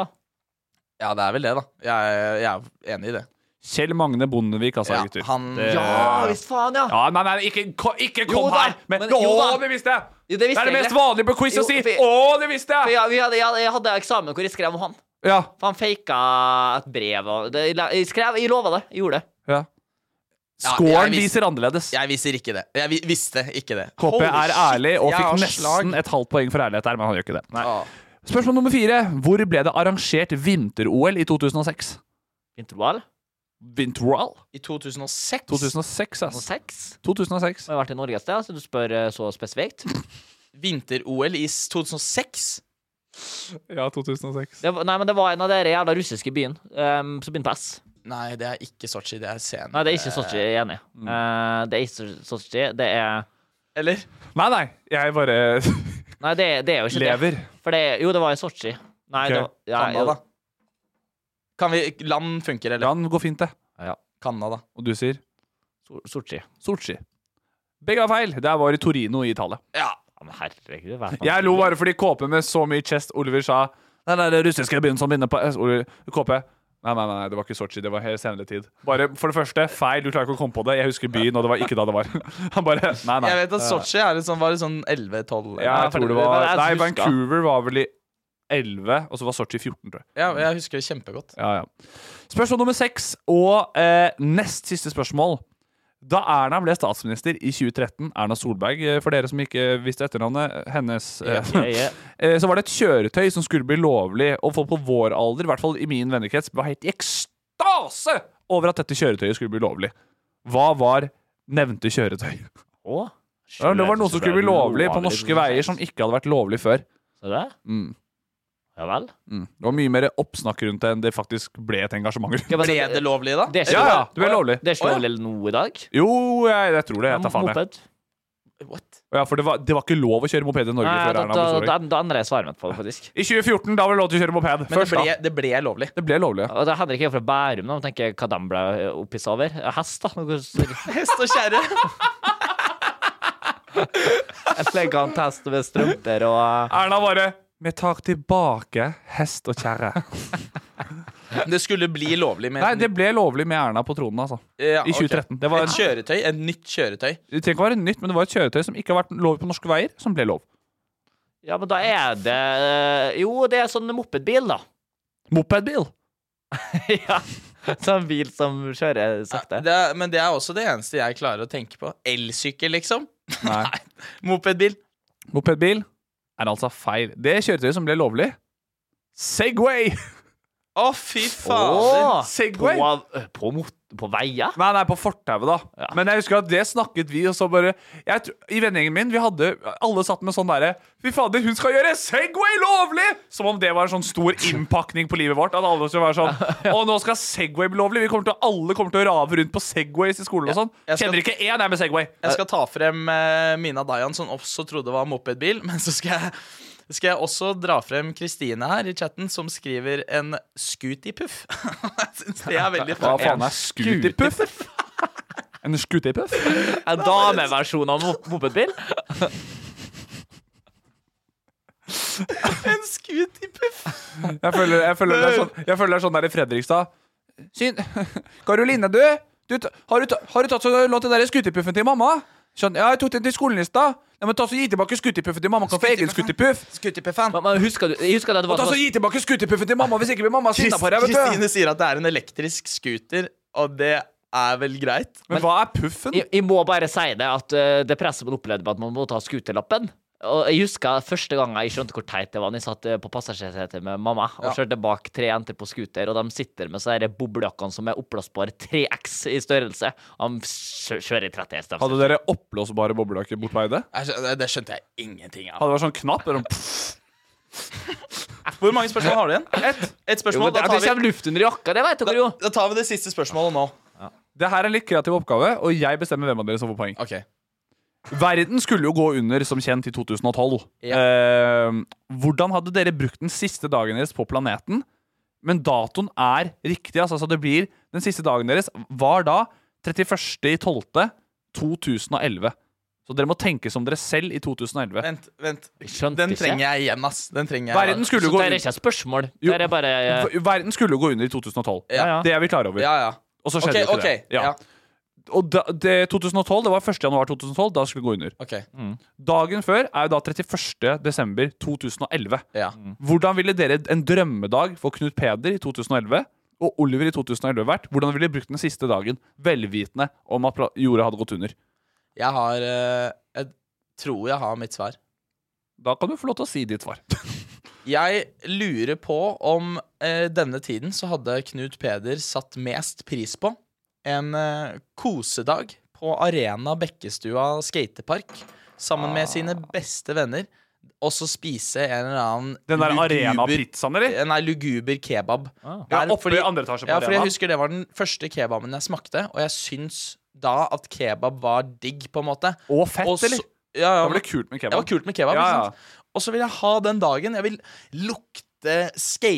S3: Ja, det er vel det, da. Jeg, er- jeg er enig i det.
S1: Kjell Magne Bondevik, altså,
S3: Ja,
S1: gutter.
S3: han-
S1: Det-
S3: Ja,
S4: visst faen, ja.
S1: Ja, nei, nei, ikke, ko- ikke kom
S4: Jo da,
S1: her! Men,
S4: men-
S1: Nå,
S4: jo da.
S1: det visste jeg!
S4: Jo,
S1: det, er det
S4: jeg
S1: mest
S4: ikke.
S1: vanlige på quiz
S4: Jo,
S1: å si
S4: for-
S1: 'Å, det visste
S4: for
S1: jeg'!
S4: ja, vi hadde, jeg hadde- jeg hadde eksamen hvor jeg skrev om han.
S1: Ja.
S4: For han faka et brev og det, Jeg skrev, jeg lova det. Jeg gjorde det.
S1: ja.
S3: Ja,
S1: Scoren
S3: jeg vis-
S1: viser annerledes.
S3: Jeg viser ikke det. Jeg vi- visste ikke det.
S1: KP
S3: Holy
S1: er
S3: shit,
S1: ærlig og
S3: jeg
S1: fikk
S3: har
S1: nesten
S3: slag.
S1: et halvt poeng for ærlighet der, men han gjør ikke det. Nei. Spørsmål nummer fire. Hvor ble det arrangert vinter-OL i 2006?
S4: Intervall.
S1: Vinter-OL?
S3: I 2006?
S1: 2006,
S4: Og
S1: ass.
S4: sex.
S1: 2006.
S4: Har jeg vært i Norge et sted, så du spør eh, så [laughs] spesifikt.
S3: Vinter-OL i s- 2006?
S1: Ja, 2006.
S4: Det var, nei, men det var en av dere jævla russiske byen um, som begynte på S.
S3: Nei, det er ikke Sotsji. Det er sen.
S4: Nei, det er ikke Sotsji. Jeg er enig.
S1: Mm.
S4: Eh, det er ikke Sotsji. Det er
S3: Eller?
S1: Nei, nei. Jeg bare [laughs]
S4: Nei, det, er- det er jo ikke
S1: lever.
S4: det. For det er- Jo, det var i Sotsji. Nei,
S1: Ok.
S4: det var ja,
S3: Canada. Kan vi Land funker, eller?
S1: Land går fint, det.
S4: Ja.
S3: Canada.
S1: Og du sier
S4: jo, Sotsji.
S1: Sotsji. Begge har feil. Det var i Torino i Italia.
S3: Ja.
S4: Ja, men herregud, hva faen?
S1: Jeg lo bare fordi KP med så mye chest Oliver sa Nei, nei, det er russiske byen som begynner på S. Oliver, KP Nei, nei, nei, det var ikke Sotsji. Det var helt senere tid. Bare, For det første, feil. Du klarer ikke å komme på det. Jeg husker byen, og det var ikke da det var. [laughs] Han bare Nei, nei.
S3: Jeg vet at Sotsji er litt sånn, var litt sånn 11-12.
S1: Ja, jeg
S4: for-
S1: tror det
S4: men
S1: var
S4: jeg
S1: Nei,
S4: husker-
S1: Vancouver var vel i 11, og så var Sotsji 14, tror jeg.
S3: Ja, jeg husker det kjempegodt.
S1: Ja, ja. Spørsmål nummer seks og eh, nest siste spørsmål. Da Erna ble statsminister i 2013, Erna Solberg, eh, for dere som ikke visste etternavnet hennes, eh,
S4: Ja, ja.
S1: eh, så var det et kjøretøy som skulle bli lovlig. Og folk på vår alder, i hvert fall i min vennekrets, var helt i ekstase over at dette kjøretøyet skulle bli lovlig. Hva var nevnte kjøretøy?
S4: Å?
S1: Ja, det var noe som skulle bli lovlig på norske veier som ikke hadde vært lovlig før.
S4: Så det?
S1: Mm.
S4: Ja vel?
S1: Mm. Det var mye mer oppsnakk rundt det enn det faktisk ble et engasjement rundt.
S4: Ja, men
S3: Ble det lovlig, da?
S4: Det er ikke
S1: Ja, ja,
S4: lov-
S1: det ble lovlig.
S4: Det er
S3: Å,
S4: ikke
S3: ja.
S4: lovlig nå i dag.
S1: Jo, jeg, jeg tror det. Jeg tar faen jeg.
S4: Moped.
S3: Eh, What?
S1: Ja, for det var, det var ikke lov å kjøre moped i Norge
S4: Nei,
S1: før Erna
S4: da, da,
S1: ble
S4: da,
S1: Solberg.
S4: da endrer jeg svaret mitt på det, faktisk.
S1: I 2014 da var det lov til å kjøre moped.
S3: Men det
S1: Først
S3: ble,
S1: da.
S3: det ble lovlig. [laughs]
S1: Det ble lovlig. ja.
S4: Og det er Henrik er fra Bærum, da. og tenker hva de ble opphissa over. Hest, da. Noe så-
S3: Hest og kjerre.
S1: [laughs]
S4: Elegant hest med strømper og
S1: Erna bare Vi tar tilbake hest og kjerre.
S3: Det skulle bli lovlig med
S1: Nei, det ble lovlig med Erna på tronen, altså.
S3: Ja,
S1: I
S3: ok.
S1: 2013. Det var
S3: Et kjøretøy, et nytt kjøretøy.
S1: Det trenger ikke å være nytt, men det var et kjøretøy som ikke har vært lov på norske veier, som ble lov.
S4: Ja, men da er det Jo, det er sånn mopedbil, da. [laughs]
S1: Mopedbil.
S4: ja. Sånn bil som kjører sakte.
S3: Det er, men det er også det eneste jeg klarer å tenke på. Elsykkel, liksom.
S1: Nei.
S3: [laughs] Mopedbil.
S1: Mopedbil er altså feil. Det kjøretøyet som ble lovlig Segway!
S3: Å, fy fader.
S4: Åh,
S1: [laughs] Segway.
S4: På, eh, på, mot- på veier?
S1: Nei, nei, på fortauet, da.
S4: Ja.
S1: Men jeg husker at det snakket vi, og så bare jeg, tr- I vennegjengen min, vi hadde Alle satt med sånn derre Fy fader, hun skal gjøre Segway lovlig! Som om det var en sånn stor innpakning på livet vårt. At alle skulle være
S3: [laughs]
S1: sånn Å, nå skal Segway bli lovlig! Vi kommer til å, alle kommer til å rave rundt på Segways i skolen og sånn.
S3: jeg skal-
S1: Kjenner ikke én jeg med Segway.
S3: Jeg skal ta frem eh, Mina Dayan, som også trodde var mopedbil. [laughs] Men så skal jeg, skal jeg også dra frem Kristine her i chatten, som skriver en scootypuff. [laughs] jeg syns det er veldig
S1: Hva
S3: fint.
S1: faen er scooterpuff? [laughs] En scooterpuff?
S4: En dameversjon av mop- mopedbil?
S3: [laughs] En scootypuff!
S1: Jeg føler, jeg føler det er sånn, jeg føler det er sånn der i Fredrikstad. Syn [laughs] Karoline, du! du ta- har, du ta, har du tatt så lånt den der skuterpuffen til mamma? Sånn, ja, jeg tok den til skolen i stad. Ja, men ta så Gi tilbake skuterpuffen til mamma. Kan få egen skuterpuff.
S3: Scootypuffen.
S4: Men, men husker du jeg husker at det
S1: Og
S4: var
S1: ta så Gi tilbake skuterpuffen til mamma hvis ikke blir mamma sinna på deg. vet du
S3: Kristine sier at det er en elektrisk scooter, og det er vel greit?
S1: Men hva er puffen?
S4: jeg, jeg må bare si det at eh, det presset man opplevde med at man må ta skuterlappen og Jeg husker første gangen jeg skjønte hvor teit det var. når Jeg satt eh, på passasjersetet med mamma og kjørte bak tre jenter på scooter, og de sitter med sånne her boblejakkene som er oppblåsbare 3X i størrelse. Og de kjø- kjører i 30 hester.
S1: Hadde dere oppblåsbare boblejakker bort på Eide?
S3: Jeg skjø- Det det skjønte jeg ingenting av.
S1: Hadde det vært sånn knapp? Eller sånn, pff,
S3: Hvor mange spørsmål har du igjen? Ett Et
S4: Jo, men
S3: spørsmål.
S4: det,
S3: da,
S4: det
S3: tar vi,
S4: kommer luft under jakka, det vet dere jo.
S3: da, da tar vi det siste spørsmålet nå.
S1: det her er en litt kreativ oppgave, og jeg bestemmer hvem av dere som får poeng.
S3: Ok
S1: Verden skulle jo gå under, som kjent, i 2012. Eh, hvordan hadde dere brukt den siste dagen deres på planeten? Men datoen er riktig. Altså, så det blir Den siste dagen deres var da 31.12.2011. Så dere må tenke som dere selv i 2011.
S3: Vent, vent.
S1: Den
S3: trenger jeg igjen, ass. Den trenger jeg
S1: Verden skulle
S3: Så
S1: jo gå
S3: det er ikke et
S4: spørsmål.
S1: Jo,
S4: Det er bare- eh,
S1: Ver- Verden skulle jo gå under i 2012.
S3: Ja, ja.
S1: Det er vi klar over.
S3: Ja, ja.
S1: Og så skjedde
S3: Ok,
S1: jo ikke
S3: ok,
S1: det. Ja.
S3: ja.
S1: Og da, det, 2012, det var 1. januar 2012. Da skulle det gå under.
S3: Ok.
S1: Dagen før er jo da 31. desember 2011. Mm. Hvordan ville dere en drømmedag for Knut Peder i 2011 og Oliver i 2011 vært? Hvordan ville dere brukt den siste dagen, velvitende om at pla- jorda hadde gått under?
S3: Jeg har eh, Jeg tror jeg har mitt svar.
S1: Da kan du få lov til å si ditt [laughs] svar.
S3: Jeg lurer på om eh, denne tiden så hadde Knut Peder satt mest pris på en eh, kosedag på Arena Bekkestua skatepark sammen
S1: Ah.
S3: med sine beste venner. Og så spise en eller annen
S1: Den der
S3: luguber- Eh,
S1: Arena-pizzaen, eller? Ah.
S3: Nei, luguber kebab.
S1: Ja,
S3: Der-
S1: oppe i andre etasje på
S3: ja, fordi
S1: Arena.
S3: jeg husker det var den første kebaben jeg smakte, og jeg syns da at kebab var digg, på en måte.
S1: Og fett,
S3: så-
S1: eller?
S3: Ja, ja,
S1: Da var det kult med kebab.
S3: Det var kult med kebab,
S1: Ja,
S3: ikke
S1: ja.
S3: sant? Og så vil jeg ha den dagen. Jeg vil lukte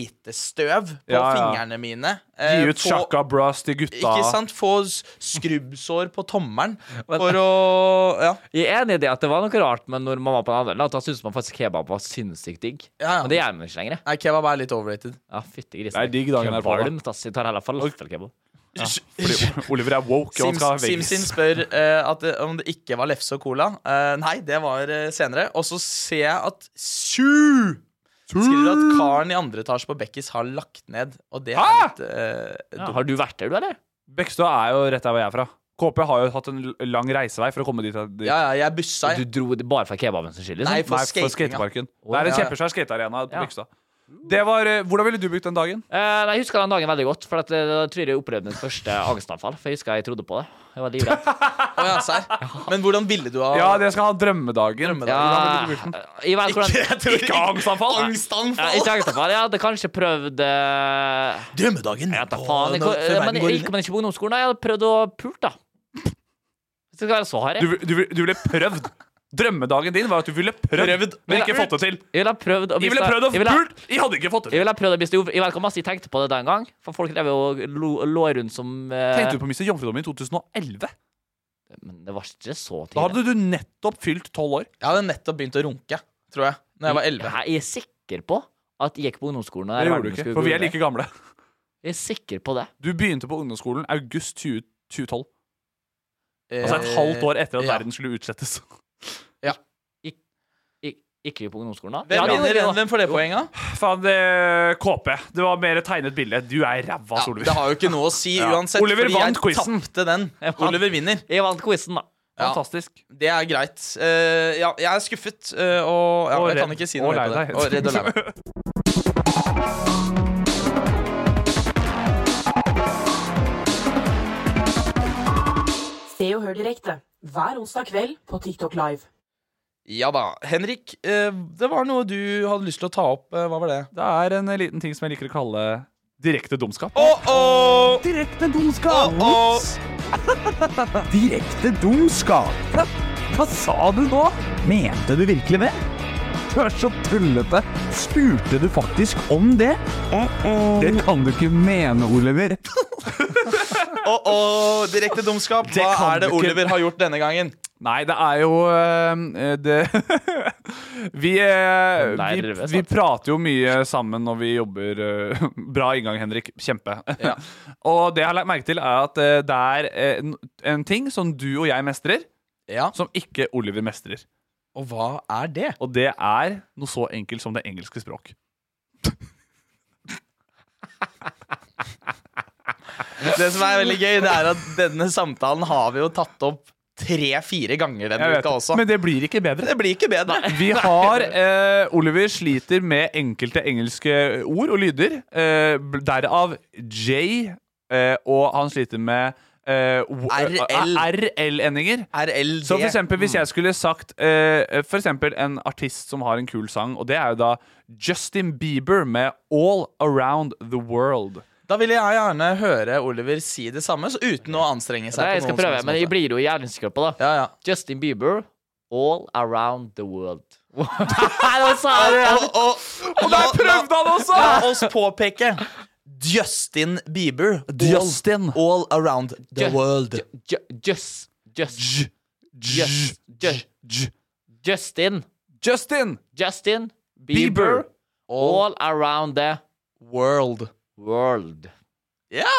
S3: skatestøv på
S1: Ja, ja.
S3: fingrene mine. eh,
S1: Gi ut
S3: få-
S1: shaka bras til gutta.
S3: Ikke sant? Få s- skrubbsår på
S1: [laughs]
S3: tommelen.
S4: For
S3: å Ja.
S4: Jeg er enig i det at det var noe rart, men når man var på den andre, da syntes man faktisk kebab var sinnssykt digg.
S3: Ja, ja.
S4: Men det gjør man ikke lenger.
S3: Nei, kebab er litt overrated.
S4: Ja, fytti grisen.
S1: Det er digg dagen er på, da.
S4: Kvalmt, ass. Jeg tar heller falafelkebab.
S1: Ja, fordi Oliver er woke, og han skal ha
S3: Sims-
S1: veggies.
S3: Simsin spør eh, at det, om det ikke var lefse og cola. Eh, nei, det var eh, senere. Og så ser jeg at Sju skriver at karen i andre etasje på Bekkis har lagt ned. Og det er litt eh, dumt.
S4: har du vært der, du, eller?
S1: Bekkestua er jo rett der hvor jeg er fra. KP har jo hatt en l- lang reisevei for å komme dit. dit.
S3: Ja, ja, jeg bussa, jeg.
S4: Du dro det bare for kebaben sin skyld? Liksom.
S1: Nei, for, skateparken. Det er en
S4: Ja.
S1: kjempesvær skatearena på
S4: Ja.
S1: Bekkestua. Det var, eh, Hvordan ville du brukt den dagen?
S4: Eh, nei, jeg husker den dagen veldig godt, for at, eh, da tror jeg jeg opplevde mitt første angstanfall. For jeg husker jeg trodde på det. Jeg var livredd.
S3: Å, ja, serr? Men hvordan ville du ha
S1: Ja, det skal ha drømmedagen. Hvordan
S4: Ja,
S1: ville du brukt den?
S4: jeg vet hvordan-
S1: Ikke- jeg tror ikke- Ikke angstanfall.
S4: Ja, ikke angstanfall. Jeg hadde kanskje prøvd eh,
S3: Drømmedagen.
S4: Jeg vet da faen. Jeg,
S1: når- før verden
S4: men
S1: går
S4: gikk man ikke på ungdomsskolen? da? Jeg hadde prøvd å pult, da. Hvis det skal være så harry.
S1: Du, vil- du, vil- du ville prøvd. Drømmedagen din var at du ville prøvd, men ikke fått det til.
S4: Jeg ville ha prøvd å
S1: Jeg ville prøvd å
S4: jeg ville ha-
S1: pult. Jeg hadde ikke fått det til.
S4: Jeg ville ha prøvd å bli stor. Jeg vet ikke hvor masse jeg tenkte på det den gang. For folk drev jo og lo, lå rundt som eh,
S1: Tenkte du på å miste jomfrudommen i 2011?
S4: Men det var ikke så tidlig.
S1: Da hadde du nettopp fylt tolv år.
S3: Jeg hadde nettopp begynt å runke, tror jeg. Når jeg var 11.
S4: Jeg, jeg er sikker på at jeg gikk på ungdomsskolen. og
S1: Det
S4: der
S1: gjorde du
S4: verden
S1: ikke,
S4: skulle
S1: for vi er
S4: gå under.
S1: like gamle.
S4: Jeg er sikker på det.
S1: Du begynte på ungdomsskolen august 20, 2012. Altså
S3: Eh,
S1: et halvt år etter at verden skulle utslettes.
S3: Ja.
S4: Gikk, gikk, gikk vi på ungdomsskolen da?
S3: Hvem
S4: Ja, det-
S3: vinner
S4: det var-
S3: den- hvem får det poenget?
S1: Faen, det KP. Det var mer et tegnet bilde. Du er ræva,
S3: Ja,
S1: Solveig.
S3: det har jo ikke noe å si
S1: Ja.
S3: uansett,
S1: Oliver
S3: fordi
S1: vant
S3: jeg
S1: quizen.
S3: tapte den. Oliver vinner.
S4: Jeg vant quizen, da.
S1: Fantastisk.
S3: Det er greit. Eh, ja, jeg er skuffet, eh, og, ja,
S1: Og
S3: jeg kan
S1: redd.
S3: ikke si
S1: Og
S3: noe mer
S1: lei
S3: på det.
S1: deg.
S3: Og redd og
S1: [laughs]
S3: lei meg.
S2: Se og hør direkte hver onsdag kveld på TikTok Live.
S3: Ja da. Henrik, eh, det var noe du hadde lyst til å ta opp. Eh, hva var det?
S1: Det er en liten ting som jeg liker å kalle direkte dumskap.
S5: Direkte dumskap. Direkte dumskap. Hva, hva sa du nå? Mente du virkelig det? Du er så tullete. Spurte du faktisk om det? Det kan du ikke mene, Oliver.
S3: Å, å, direkte dumskap. Hva
S1: kan
S3: er det
S1: du ikke.
S3: Oliver har gjort denne gangen?
S1: Nei, det er jo eh, det [laughs] vi, eh, vi,
S4: Nervøs,
S1: vi prater jo mye sammen når vi jobber. eh, [laughs] bra inngang, Henrik. Kjempe. [laughs] og det jeg har lagt merke til, er at eh, det er eh, en- en ting som du og jeg mestrer, som ikke Oliver mestrer.
S3: Og hva er det?
S1: Og det er noe så enkelt som det engelske språk.
S3: Det som er veldig gøy, det er at denne samtalen har vi jo tatt opp tre-fire ganger
S1: Jeg
S3: denne
S1: vet
S3: uka
S1: det,
S3: også.
S1: Men det blir ikke bedre.
S3: det blir ikke bedre.
S1: Vi har eh, Oliver sliter med enkelte engelske ord og lyder. Eh, bl- derav J, eh, og han sliter med eh, o-
S3: RL.
S1: eh, RL-endinger.
S3: RLD.
S1: Så for eksempel, hvis
S3: Mm.
S1: jeg skulle sagt eh, For eksempel en artist som har en kul sang, og det er jo da Justin Bieber med All Around The World.
S3: Da vil jeg gjerne høre Oliver si det samme, så uten å anstrenge seg.
S4: Nei, jeg
S3: på
S4: skal
S3: noen som
S4: prøve,
S3: helst
S4: men jeg
S3: måte.
S4: blir jo jævlig sikker på det.
S3: Ja, ja.
S4: Justin Bieber, All around the
S1: [laughs]
S4: world. Nå sa jeg det
S3: Og,
S4: igjen.
S3: og, og der prøvde han også! La oss påpeke Justin Bieber. Justin. All, all around the
S4: Ju-
S3: world.
S4: ju- Just Just Just ju- Justin.
S1: Justin.
S4: Justin
S3: Bieber.
S4: Bieber. All around the
S3: world.
S4: World.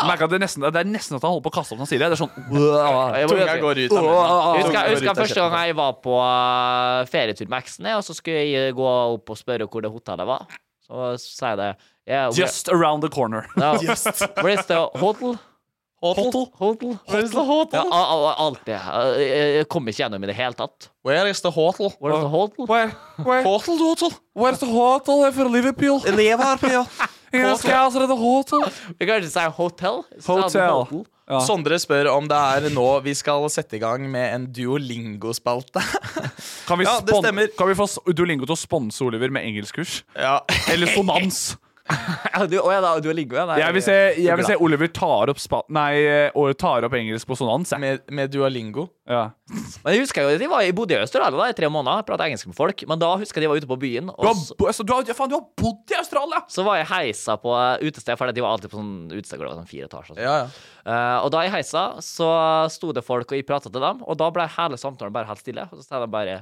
S1: Merka at det, er nesten, det er nesten at han holder på å kaste opp når han sier det. Det er [laughs] sånn
S4: Jeg må-
S1: Tunga går ut av munnen.
S4: Jeg husker,
S1: Tunga
S4: jeg
S1: går ut
S4: husker
S1: av
S4: første gang
S1: kjeften.
S4: jeg var på eh, ferietur med eksen, jeg, og så skulle jeg gå opp og spørre hvor det hotellet var. Så sier jeg det. Yeah, where-
S1: Just around the corner.
S4: No. Where is the hotel?
S3: Hotel?
S4: Hotel?
S3: Where is the
S4: Ja,
S3: hotel?
S4: a- a- alt det. Eh, Jeg jeg kom ikke gjennom i det hele tatt.
S3: Where is the hotel?
S4: Where is the hotel?
S1: Where, where,
S3: hotel, hotel?
S1: Where's the hotel for Liverpool?
S3: Liverpool.
S1: Jeg skal altså redde [laughs] hotel.
S4: Vi kan ikke si hotel.
S3: Hotel.
S1: Ja.
S3: [laughs] Sondre spør om det er nå vi skal sette i gang med en
S4: [laughs]
S3: Duolingo-spalte.
S1: Kan vi,
S3: Ja, det
S1: spon-
S3: stemmer.
S1: kan vi få s- Duolingo til å sponse Oliver med [laughs] engelskkurs?
S3: Ja.
S1: Eller sonans?
S4: du, å, ja, da, du er ligge, ja, nei,
S1: Jeg vil se, jeg vil se Oliver tar opp, spa, nei, eh, og tar opp engelsk på sonans. jeg.
S3: Med, med Duolingo.
S1: Ja.
S4: Men jeg husker jo, de var, Jeg bodde i Australia da, i tre måneder, prata engelsk med folk. Men da husker jeg de var ute på byen.
S1: Du
S4: Og
S1: har,
S4: så,
S1: bo- altså, du, har, ja, faen, du har bodd i Australia!
S4: så var jeg heisa på eh, utested, for de var alltid på sånn utested hvor det var sånn fire etasjer. og sånn.
S3: Ja, ja.
S4: Eh, og da jeg heisa, så sto det folk, og jeg prata til dem, og da ble hele samtalen bare helt stille. Og så sa de bare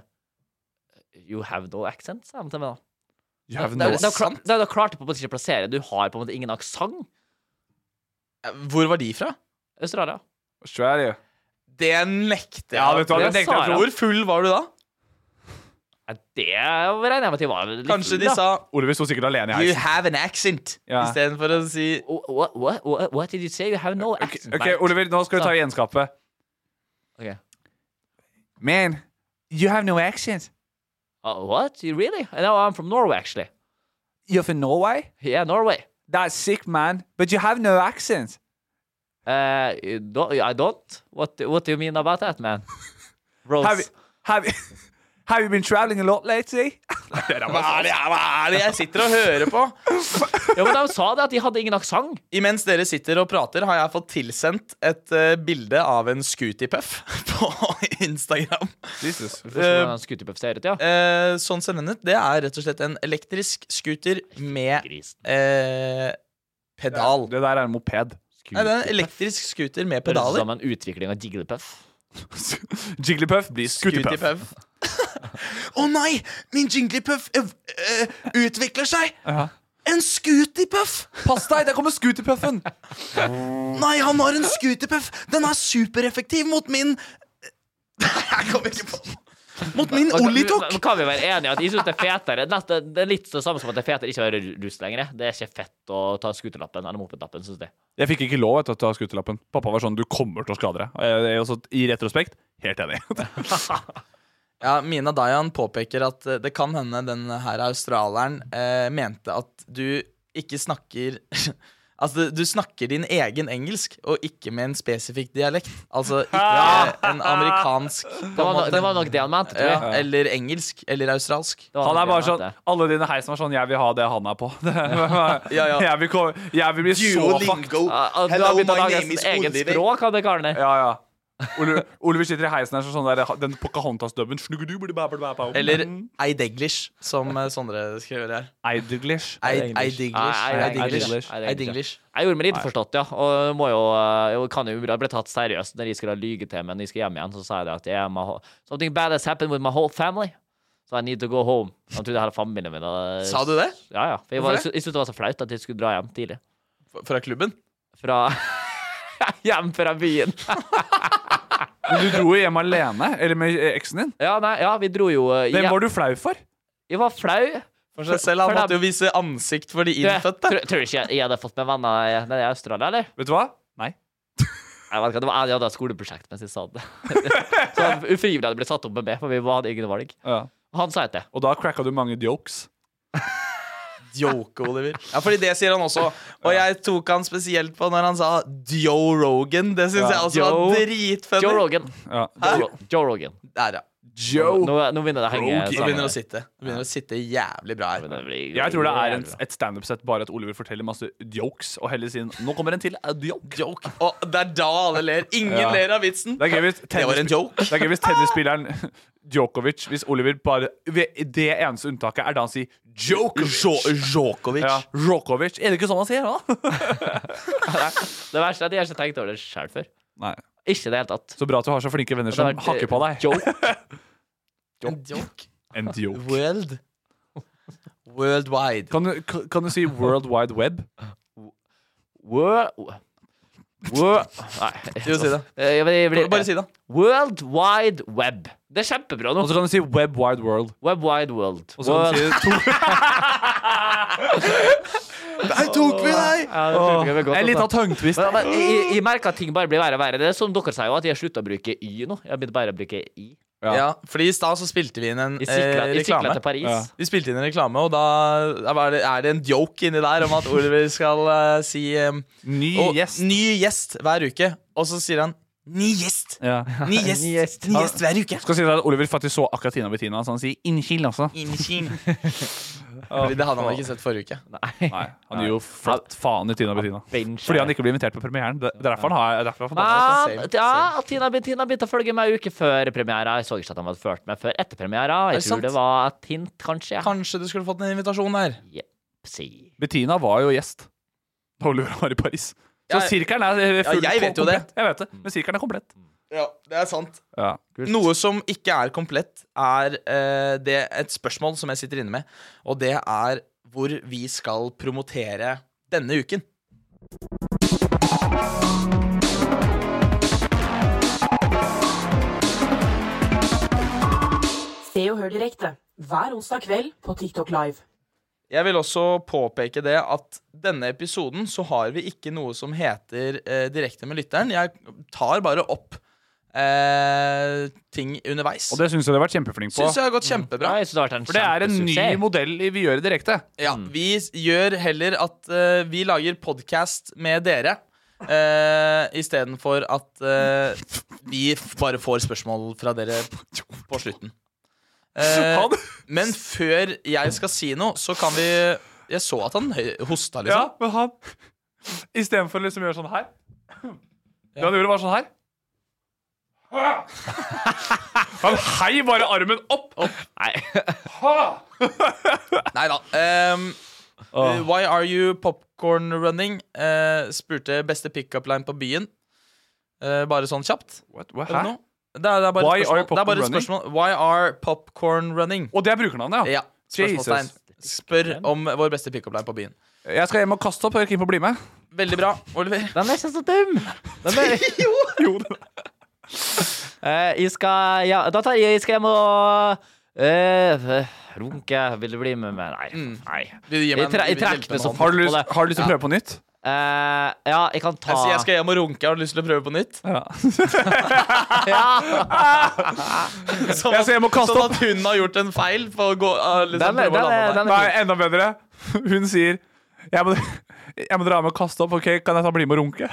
S4: You have no accent, sa de til meg da.
S1: You have
S4: Da,
S1: no
S4: da, da, kla- da, da klarte jeg på en måte ikke å plassere Du har på en måte ingen aksent.
S3: Hvor var de fra?
S4: Australia.
S1: Australia.
S3: Det nekter jeg.
S1: Ja, vet du hva,
S4: det
S1: det nekter
S4: sa
S1: jeg å
S4: jeg.
S1: tro.
S3: Hvor full var du da?
S4: Nei, Det regner jeg med at de var litt
S3: Kanskje
S4: full,
S3: de
S4: da.
S3: sa
S1: Oliver sto sikkert alene i
S3: You
S1: heisen.
S3: have an accent
S1: Ja.
S3: istedenfor å si
S4: What, what, what, what did you say? You have no
S1: Ok,
S4: accent.
S1: ok,
S4: mate.
S1: Oliver, nå skal vi ta gjenskapet.
S4: Okay.
S1: Man, you have no accent.
S4: Uh, what? You really? No, I'm from Norway, actually.
S1: You're from Norway?
S4: Yeah, Norway.
S1: That's sick, man. But you have no accent.
S4: Uh, you don't, I don't. What, what do you mean about that,
S3: [laughs]
S4: man? Rose.
S1: Have, have, [laughs] have you been traveling a lot lately?
S3: Hva er det, hva er det jeg sitter og hører på?
S4: ja, men de sa det at de hadde ingen aksent.
S3: Imens dere sitter og prater, har jeg fått tilsendt et eh, bilde av en Scootypuff [laughs] på Instagram.
S1: [laughs] Jesus.
S3: Eh,
S4: Skuterpuff ser ut, ja.
S3: eh, sånn ser den ut. Det er rett og slett en elektrisk scooter med
S4: Grisen.
S3: eh, pedal.
S1: Det der er en moped.
S3: Nei, det er en elektrisk scooter med
S4: Høres ut
S3: pedaler.
S4: som en utvikling av Jigglypuff.
S1: [laughs] Jigglypuff blir Scootypuff.
S3: Scootypuff. [laughs] Å nei! Min Jinglypuff eh, eh, utvikler seg! En Scootypuff!
S1: Pass deg, der kommer Scootypuffen!
S3: Nei, han har en Scootypuff! Den er supereffektiv mot min [laughs] Jeg kom ikke på Mot min
S4: Og-
S3: Olitok!
S4: Men Kan vi være enige i at jeg synes det er fetere Neste, Det er litt det samme som at det er fetere ikke å være russ lenger. Det er ikke fett å ta skuterlappen eller mopedlappen, synes jeg.
S1: [laughs] Jeg fikk ikke lov vet du, til å ta scooterlappen. Pappa var sånn 'du kommer til å skade deg'. Og jeg- jeg er også, I retrospekt helt enig. [laughs]
S3: Ja, Mina Dayan påpeker at eh, det kan hende den her australieren eh, mente at du ikke snakker [laughs] Altså, du snakker din egen engelsk, og ikke med en spesifikk dialekt. Altså ikke
S4: [laughs]
S3: en amerikansk på en
S4: Det var, no,
S3: måte.
S4: det var nok det han mente, tror jeg.
S3: ja, eller engelsk. Eller australsk.
S4: Det var
S1: Han
S4: nok
S1: er
S4: det
S1: bare
S4: han
S1: sånn
S4: mente.
S1: Alle dine heisen er sånn 'jeg vil ha det han er på'. [laughs] Det-
S3: Ja, ja.
S1: [laughs] Jeg, vil komme, jeg vil bli så
S3: sånn,
S1: fucked.
S4: Ah, ah, Du har begynt å lage et eget språk av det karen der.
S1: Ja, ja. Oliver, Oliver sitter i heisen her sånn der, den Pocahontas-dubben. Snuggedubbelibabelabau.
S3: Eller Eideglish, som eh, Sondre skriver her.
S1: Eideglish.
S3: Eid-
S4: Nei, Eid-
S3: Eideglish.
S4: Eideglish.
S3: Eideglish.
S4: Jeg gjorde meg litt forstått, ja. Og må jo, eh, jeg kan jo jeg ble tatt seriøst når jeg skulle lyge til, men jeg skal hjem igjen. Så sa jeg det at jeg, er my, whole- something bad has happened with my whole family. So I need to go home. Han trodde hele familien min. Og,
S3: Sa du det?
S4: Ja, ja. For jeg, var, jeg
S3: Hvorfor det?
S4: syntes det var så flaut at jeg skulle dra hjem tidlig.
S3: F- Fra klubben?
S4: Fra [laughs] Hjem fra byen.
S1: Men du dro jo hjem alene? Eller med eh, eksen din?
S4: Ja, nei, ja, vi dro jo eh,
S1: Hvem
S4: hjem.
S1: var du flau for?
S4: Jeg var flau.
S3: For seg selv. Han
S4: for
S3: måtte
S4: dem.
S3: jo vise ansikt for de
S4: Du, jeg-
S3: innfødte.
S4: Tror, tror du ikke jeg, jeg hadde fått med venner i- nede i Australia, eller?
S1: Vet du hva? Nei.
S4: Jeg vet ikke, det var, jeg hadde et skoleprosjekt mens jeg sa det. [laughs] så ufrivillig hadde det blitt satt opp med meg, for vi hadde ingen valg.
S1: Ja.
S4: Han sa ikke det.
S1: Og da cracka du mange jokes.
S3: Joke, Oliver. Ja, fordi det sier han også. Og jeg tok han spesielt på når han sa Joe Rogan. Det syns
S1: Ja.
S3: jeg også
S4: Joe-
S3: var dritfunny.
S4: Joe Rogan.
S1: Ja.
S4: Joe, Joe Rogan.
S3: Der, ja. Joe.
S4: Nå, nå begynner det å henge
S3: Rogan. Det
S4: sammen.
S3: begynner å sitte. Det begynner å sitte jævlig bra her.
S1: Jeg tror det er en, et standup-sett, bare at Oliver forteller masse jokes, og heller sier 'nå kommer en til a joke'.
S3: Og det er da alle ler. Ingen
S1: Ja.
S3: ler av vitsen.
S1: Det, er gøy hvis
S3: Det var en
S1: tennisspil-
S3: joke.
S1: Det er gøy hvis tennisspilleren Djokovic Hvis Oliver bare ved- Det eneste unntaket er da han sier Djokovic.
S3: Djokovic.
S1: Ja, Djokovic. Er det ikke sånn han sier, da?
S4: Det verste er at jeg har ikke tenkt over det sjøl før.
S1: Nei.
S4: Ikke i det hele tatt.
S1: Så bra at du har så flinke venner
S4: Det
S1: som
S4: har vært, eh,
S1: hakker på deg. [laughs]
S4: Joke.
S3: En joke.
S1: En joke.
S3: World. Worldwide.
S1: Kan du, k- kan du si World Wide Web?
S4: Wor... Wor... Nei.
S3: Jo, si det.
S4: eh, Jeg, jeg, jeg,
S3: Bare si det.
S4: World Wide Web. Det er kjempebra nå.
S1: Og så kan du si Web Wide World.
S4: Web Wide World.
S1: Og så kan du si
S4: World-
S3: Der tok vi deg!
S4: Ja, det tror jeg vi er godt,
S1: En liten
S4: altså.
S1: tungtvist.
S4: Men, men, jeg, jeg merker at ting bare blir verre og verre. Det er som dere sier jo, at jeg har slutta å bruke Y nå. Jeg har begynt bare å bruke I.
S3: Ja. fordi i stad så spilte vi inn en
S4: I
S3: eh,
S4: sikla, i sikla
S3: reklame.
S4: til Paris. [laughs]
S1: Ja.
S3: Vi spilte inn en reklame, og da da var det, er det en joke inni der om at Oliver skal eh, si em,
S1: Ny
S3: og,
S1: gjest.
S3: Ny gjest hver uke. Og så sier han Ny gjest!
S1: Ja.
S3: Ny gjest,
S4: Ny gjest.
S3: Ny gjest hver uke.
S1: Skal si deg at Oliver faktisk så akkurat Tina Bettina, så han sier 'innkil' altså. også.
S3: Fordi det hadde han ikke sett forrige uke.
S1: Nei, han gir jo flatt faen i Tina Bettina.
S4: Bench,
S1: Fordi han ikke blir invitert på premieren. Det det er derfor han har derfor han har fått
S4: Men,
S3: Same,
S4: ja, at Tina, Tina begynte å følge meg uke før premiera. Jeg så ikke at de hadde ført meg før etter premiera.
S3: Er
S4: Jeg
S3: det
S4: tror
S3: sant?
S4: det var et hint, kanskje. Ja.
S3: Kanskje du skulle fått en invitasjon der.
S4: Si.
S1: Bettina var jo gjest da Oliver var i Paris. Så
S3: Ja,
S1: sirkelen er eh, full
S3: jeg vet jo det. Mm.
S1: komplett. Jeg vet det, men sirkelen er komplett.
S3: Ja, det er sant.
S1: Ja.
S3: Noe som ikke er komplett, er eh, det, et spørsmål som jeg sitter inne med. Og det er hvor vi skal promotere denne uken.
S2: Se og hør direkte hver onsdag kveld på TikTok Live.
S3: Jeg vil også påpeke det at denne episoden så har vi ikke noe som heter eh, Direkte med lytteren. Jeg tar bare opp eh, ting underveis.
S1: Og det syns jeg du har vært kjempeflink på.
S3: Syns jeg har gått kjempebra.
S4: Ja, jeg synes det har vært en
S1: For det er en ny
S4: kjempesuksess.
S1: modell i vi gjør det direkte.
S3: Ja, Vi s- gjør heller at eh, vi lager podkast med dere. Uh, Istedenfor at eh, vi f- bare får spørsmål fra
S1: [laughs]
S3: dere på slutten. Eh,
S1: Han-
S3: men før jeg skal si noe, så kan vi Jeg så at han høy- hosta,
S1: Ja,
S3: liksom.
S1: men han Istedenfor liksom å gjøre sånn her Det han gjorde, var sånn her. Han heiv bare armen opp.
S3: Nei da. ehm,
S1: Ah.
S3: eh, Why are you popcorn running? Eh, spurte beste pickup line på byen. Eh, bare sånn kjapt.
S1: What? What?
S3: Eller
S1: Hæ?
S3: noe. Det er, det er bare
S1: Why
S3: et
S1: are
S3: spørsmål. Det er bare et
S1: popcorn
S3: spørsmål. Why are popcorn running?
S1: Og det er brukernavnet, ja.
S3: Ja. Spørsmålstegn.
S1: Jesus.
S3: Spør om vår beste pickup line på byen.
S1: Jeg skal hjem og kaste opp. Jeg er keen på å bli med.
S3: Veldig bra, Oliver.
S4: Den er ikke så dum! Den er...
S1: [laughs]
S3: Jo!
S4: [laughs] Eh, jeg skal ja, Da tar jeg, jeg skal hjem og eh, runke. Vil du bli med meg? Nei.
S1: Mm.
S4: nei.
S3: Vil du gi meg
S4: Jeg,
S3: en-
S4: tre, jeg
S3: vil du hjelpe
S4: trekker meg så
S3: meg med
S1: Har
S4: fort
S1: du
S4: på
S1: lyst,
S4: det.
S1: har du lyst til å prøve på nytt?
S4: Eh, ja, jeg kan ta
S3: Jeg
S1: Ah.
S3: sier jeg skal hjem og runke. Har du lyst til å prøve på nytt? Sånn
S1: Jeg skal hjem og kaste
S3: sånn at hun har gjort en feil. For å gå, uh, liksom,
S4: Den er-
S3: prøve å
S4: den er-
S3: lande
S4: den
S3: der.
S4: er-
S1: Nei, enda bedre. [laughs] Hun sier jeg må, [laughs] jeg må dra med og kaste opp. Ok, Kan jeg ta bli med og runke?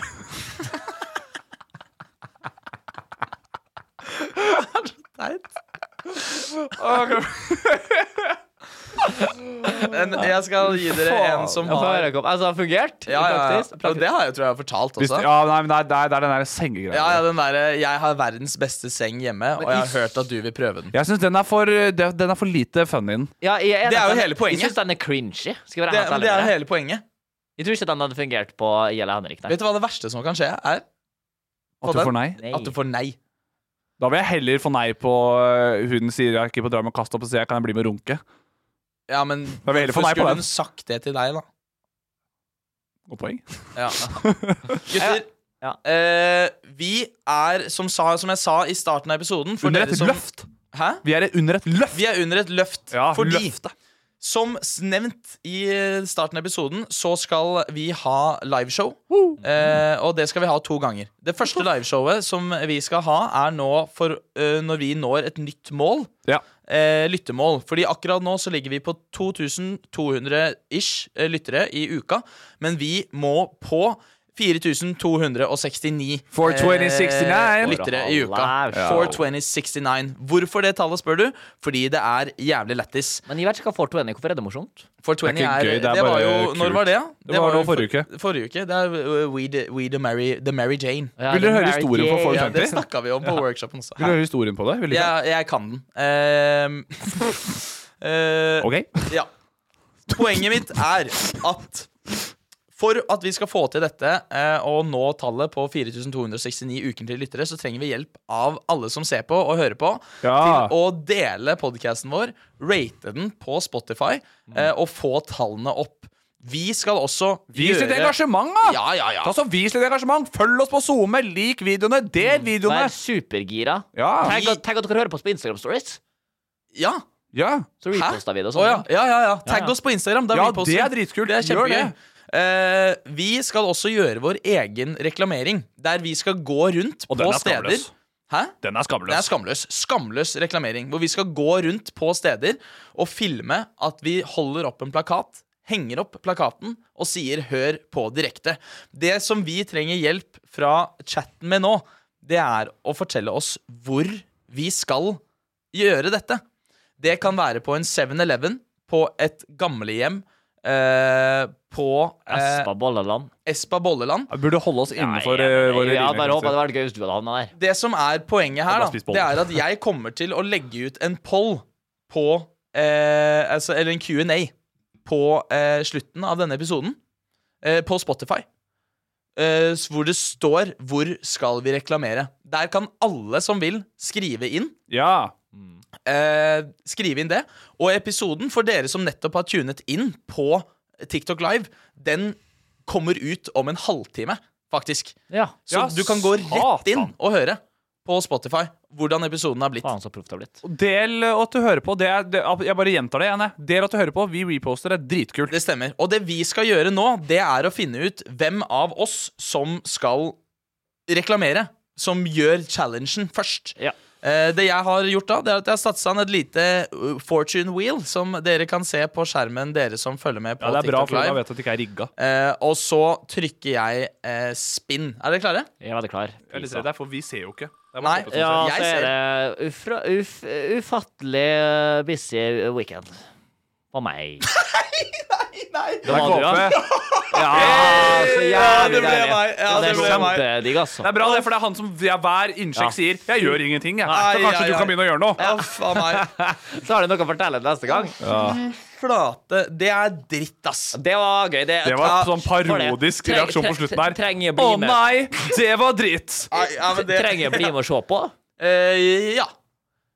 S3: Men [laughs] jeg skal gi dere en som
S4: Ja, få
S3: har
S4: høre, kom. Altså, det har fungert?
S3: Ja, ja, ja.
S4: Praktisk?
S3: Og det har jeg tror jeg har fortalt
S1: Hvis,
S3: også.
S1: ja, nei, men det er, det er- det er den der sengegreia.
S3: Ja, ja, den derre 'jeg har verdens beste seng hjemme', og jeg har hørt at du vil prøve den.
S1: Jeg syns den, er for- det- den er for lite fun in.
S4: Ja, jeg enig
S3: Det er
S4: at
S3: jo
S4: den-
S3: hele poenget.
S4: Jeg syns den er cringy. Skal jeg være
S3: Det,
S4: helt
S3: men
S4: ærlig
S3: det er
S4: med
S3: jo
S4: deg.
S3: hele poenget.
S4: Jeg tror ikke den hadde fungert på I eller Henrik. Nei.
S3: Vet du hva det verste som kan skje, er?
S1: At du
S3: den?
S1: får nei.
S4: Nei.
S3: At du får nei.
S1: Da vil jeg heller få nei på øh, hun sier jeg er keen på å dra med og kaste opp, og så jeg kan jeg bli med og runke.
S3: Ja, men
S1: Da vil jeg heller få
S3: hvorfor
S1: nei på
S3: skulle
S1: den.
S3: hun sagt det til deg, da?
S1: Godt poeng. [laughs]
S3: Ja. Gutter,
S4: Ja.
S3: eh, vi er, som, sa, som jeg sa i starten av episoden for
S1: Under
S3: dere
S1: et
S3: som,
S1: løft.
S3: Hæ?
S1: Vi er under et løft.
S3: Vi er under et løft
S1: Ja,
S3: fordi
S1: løftet.
S3: Som s- nevnt i eh, starten av episoden, så skal vi ha liveshow. Eh, og det skal vi ha to ganger. Det første liveshowet som vi skal ha, er nå for eh, når vi når et nytt mål.
S1: Ja.
S3: Eh, lyttemål. Fordi akkurat nå så ligger vi på 2200 ish eh, lyttere i uka. Men vi må på 4269
S1: 42069.
S3: eh, lyttere i uka.
S1: Ja.
S3: 42069. Hvorfor det tallet, spør du? Fordi det er jævlig lættis.
S4: Men jeg vet ikke hva 420 Hvorfor er det morsomt?
S3: 420
S1: Det er
S3: er,
S1: ikke gøy,
S3: det,
S1: det er
S3: var
S1: bare
S3: jo
S1: kult.
S3: Når var det?
S1: Det var nå
S3: jo
S1: forrige uke.
S3: Forrige uke. Det er uh, We, the, we the, Mary, the Mary Jane.
S1: Ja, Vil du the høre Mary historien på Jane. 420?
S3: Ja, det snakka vi om på
S1: Ja.
S3: workshopen også.
S1: Vil du høre historien på det? Vil du
S3: Ja,
S1: ikke?
S3: jeg kan den. Ehm, [laughs] eh,
S1: Ok.
S3: Ja. Poenget mitt er at for at vi skal få til dette eh, og nå tallet på 4269 ukentlige lyttere, så trenger vi hjelp av alle som ser på og hører på,
S1: Ja.
S3: til å dele podkasten vår, rate den på Spotify
S1: Mm.
S3: eh, og få tallene opp. Vi skal også
S1: Vis litt
S3: gjøre
S1: engasjement, da!
S3: Ja, ja, ja.
S1: Ta så Vis litt engasjement! Følg oss på SoMe, lik videoene, del videoene!
S4: Vær supergira.
S1: Ja.
S4: Tenk, at- tenk at dere hører på oss på Instagram Stories.
S3: Ja.
S4: Så reposter vi det. og
S3: Å,
S4: sånn.
S3: ja. Ja, ja, ja. Tagg
S4: Ja, ja.
S3: oss på Instagram. Da
S4: Ja,
S3: reposter
S4: det er
S3: vi.
S4: dritkult.
S3: Det er
S4: Gjør
S3: kjempegøy.
S4: det.
S3: Eh, vi skal også gjøre vår egen reklamering, der vi skal gå rundt
S1: Og den
S3: på
S1: er
S3: steder
S1: skamløs.
S3: Hæ?
S1: Den er skamløs.
S3: Det er skamløs. Skamløs reklamering. Hvor vi skal gå rundt på steder og filme at vi holder opp en plakat, henger opp plakaten og sier 'hør på direkte'. Det som vi trenger hjelp fra chatten med nå, det er å fortelle oss hvor vi skal gjøre dette. Det kan være på en 7-Eleven, på et gamlehjem, eh, på eh,
S4: Espa Bolleland.
S3: Espa Bolleland.
S1: Burde holde oss innenfor
S4: Nei,
S1: eh, våre
S4: jeg hadde bare
S1: rimeligheter.
S4: håpet det var gøy hvis du hadde havna der.
S3: Det som er poenget
S4: Jeg
S3: her,
S4: bare
S3: da,
S4: spiser
S3: det er
S4: boller.
S3: at jeg kommer til å legge ut en poll på eh, altså, Eller en Q&A på eh, slutten av denne episoden eh, på Spotify. Eh, s- hvor det står 'Hvor skal vi reklamere?' Der kan alle som vil, skrive inn.
S1: Ja.
S3: Eh, skrive inn det. Og episoden for dere som nettopp har tunet inn på TikTok Live, den kommer ut om en halvtime, faktisk.
S4: Ja.
S3: Så
S1: Ja,
S3: du kan gå rett inn og høre på Spotify hvordan episoden har blitt.
S1: Og Del eh, at du hører på. Det er, det, jeg bare gjentar det igjen. jeg. Del at du hører på. Vi reposter. Det er dritkult.
S3: Det stemmer. Og det vi skal gjøre nå, det er å finne ut hvem av oss som skal reklamere. Som gjør challengen først. Eh, Det jeg har gjort da, det er at jeg har satsa an et lite uh, fortune wheel, som dere kan se på skjermen, dere som følger med på
S1: Ja, det er bra,
S3: TikTok
S1: for da
S3: Live.
S1: vet du at det ikke er rigga.
S3: Eh, og så trykker jeg eh, spinn. Er dere klare?
S4: Jeg er veldig klar.
S1: Jeg er litt redd der, for vi ser jo ikke. Det er bare
S3: Nei,
S1: Peppe som ser.
S4: Ja, så er det ufra, uf, ufattelig uh, busy weekend. På meg.
S3: [laughs]
S4: Det
S1: Der
S4: var
S1: kom
S4: du, ja.
S1: Peppe.
S4: Ja, så
S1: Hey! Ja,
S4: jævlig
S1: det ble
S4: deilig.
S1: meg. Ja,
S4: Ja, det
S1: det
S4: er
S1: ble meg.
S4: kjempedigg, altså.
S1: Det er bra, det, for det er han som via hver innsjekk
S4: Ja.
S1: sier 'jeg gjør ingenting', jeg.
S4: Nei,
S1: Så kanskje
S4: ja,
S1: du
S4: ja.
S1: kan begynne å gjøre noe.
S3: Ja, faen meg.
S4: Så har du noe å fortelle neste gang.
S3: Flate. Det er dritt, ass.
S4: Det var gøy. Det,
S1: Det var
S4: Ja,
S1: en sånn
S4: for det.
S1: parodisk
S4: Treng-
S1: reaksjon på
S4: tre-
S1: slutten her.
S4: Trenger jeg
S1: Å
S4: bli med?
S1: nei, det var dritt!
S3: Nei, ja, men det-
S4: Trenger jeg bli med og se på?
S3: [laughs] Eh, ja.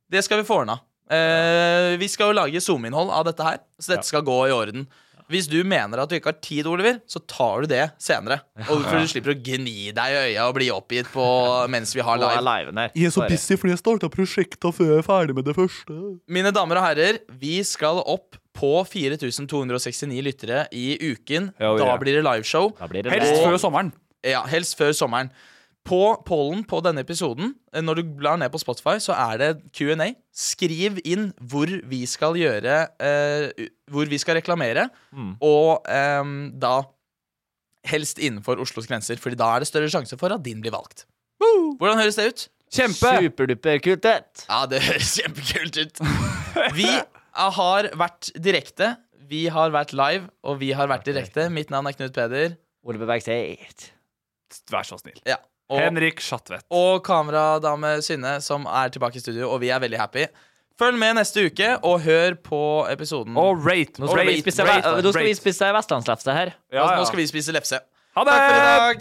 S3: Det skal vi få ordna. Eh, vi skal jo lage Zoom-innhold av dette her, så dette skal gå i orden. Hvis du mener at du ikke har tid, Oliver, så tar du det senere. Og for du slipper å gni deg i øya og bli oppgitt på mens vi har
S4: Nå er
S3: live.
S4: liven her.
S5: fordi jeg starta prosjekta før jeg er ferdig med det første.
S3: Mine damer og herrer, vi skal opp på 4269 lyttere i uken.
S1: Ja, vi
S3: da
S1: gjør.
S3: blir det liveshow.
S4: det
S1: Helst før sommeren.
S3: Ja, helst før sommeren. På pollen på denne episoden, eh, når du blar ned på Spotify, så er det Q&A. Skriv inn hvor vi skal gjøre eh, u- Hvor vi skal reklamere, og ehm, da helst innenfor Oslos grenser, Fordi da er det større sjanse for at din blir valgt. Hvordan høres det ut?
S1: Kjempe!
S4: Superduper kult, det.
S3: Ja, det [laughs] høres kjempekult ut. Vi eh, har vært direkte. Vi har vært live, og vi har vært direkte. Mitt navn er Knut Peder.
S4: Oliver Bergseth.
S1: Vær så snill.
S3: Ja. Og
S1: Henrik Schatvedt.
S3: og kameradame Synne, som er tilbake i studio, og vi er veldig happy. Følg med neste uke, og hør på episoden.
S1: Og rate.
S4: Nå skal vi
S1: rate,
S4: spise,
S1: rate,
S4: eh, nå skal vi
S1: rate.
S4: spise vestlandslefse her.
S1: Ja, ja.
S3: Nå skal vi spise lefse.
S1: Ha det!
S3: Takk for i dag!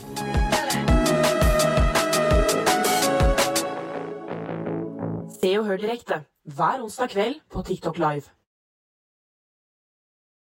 S2: Se og hør direkte hver onsdag kveld på TikTok Live.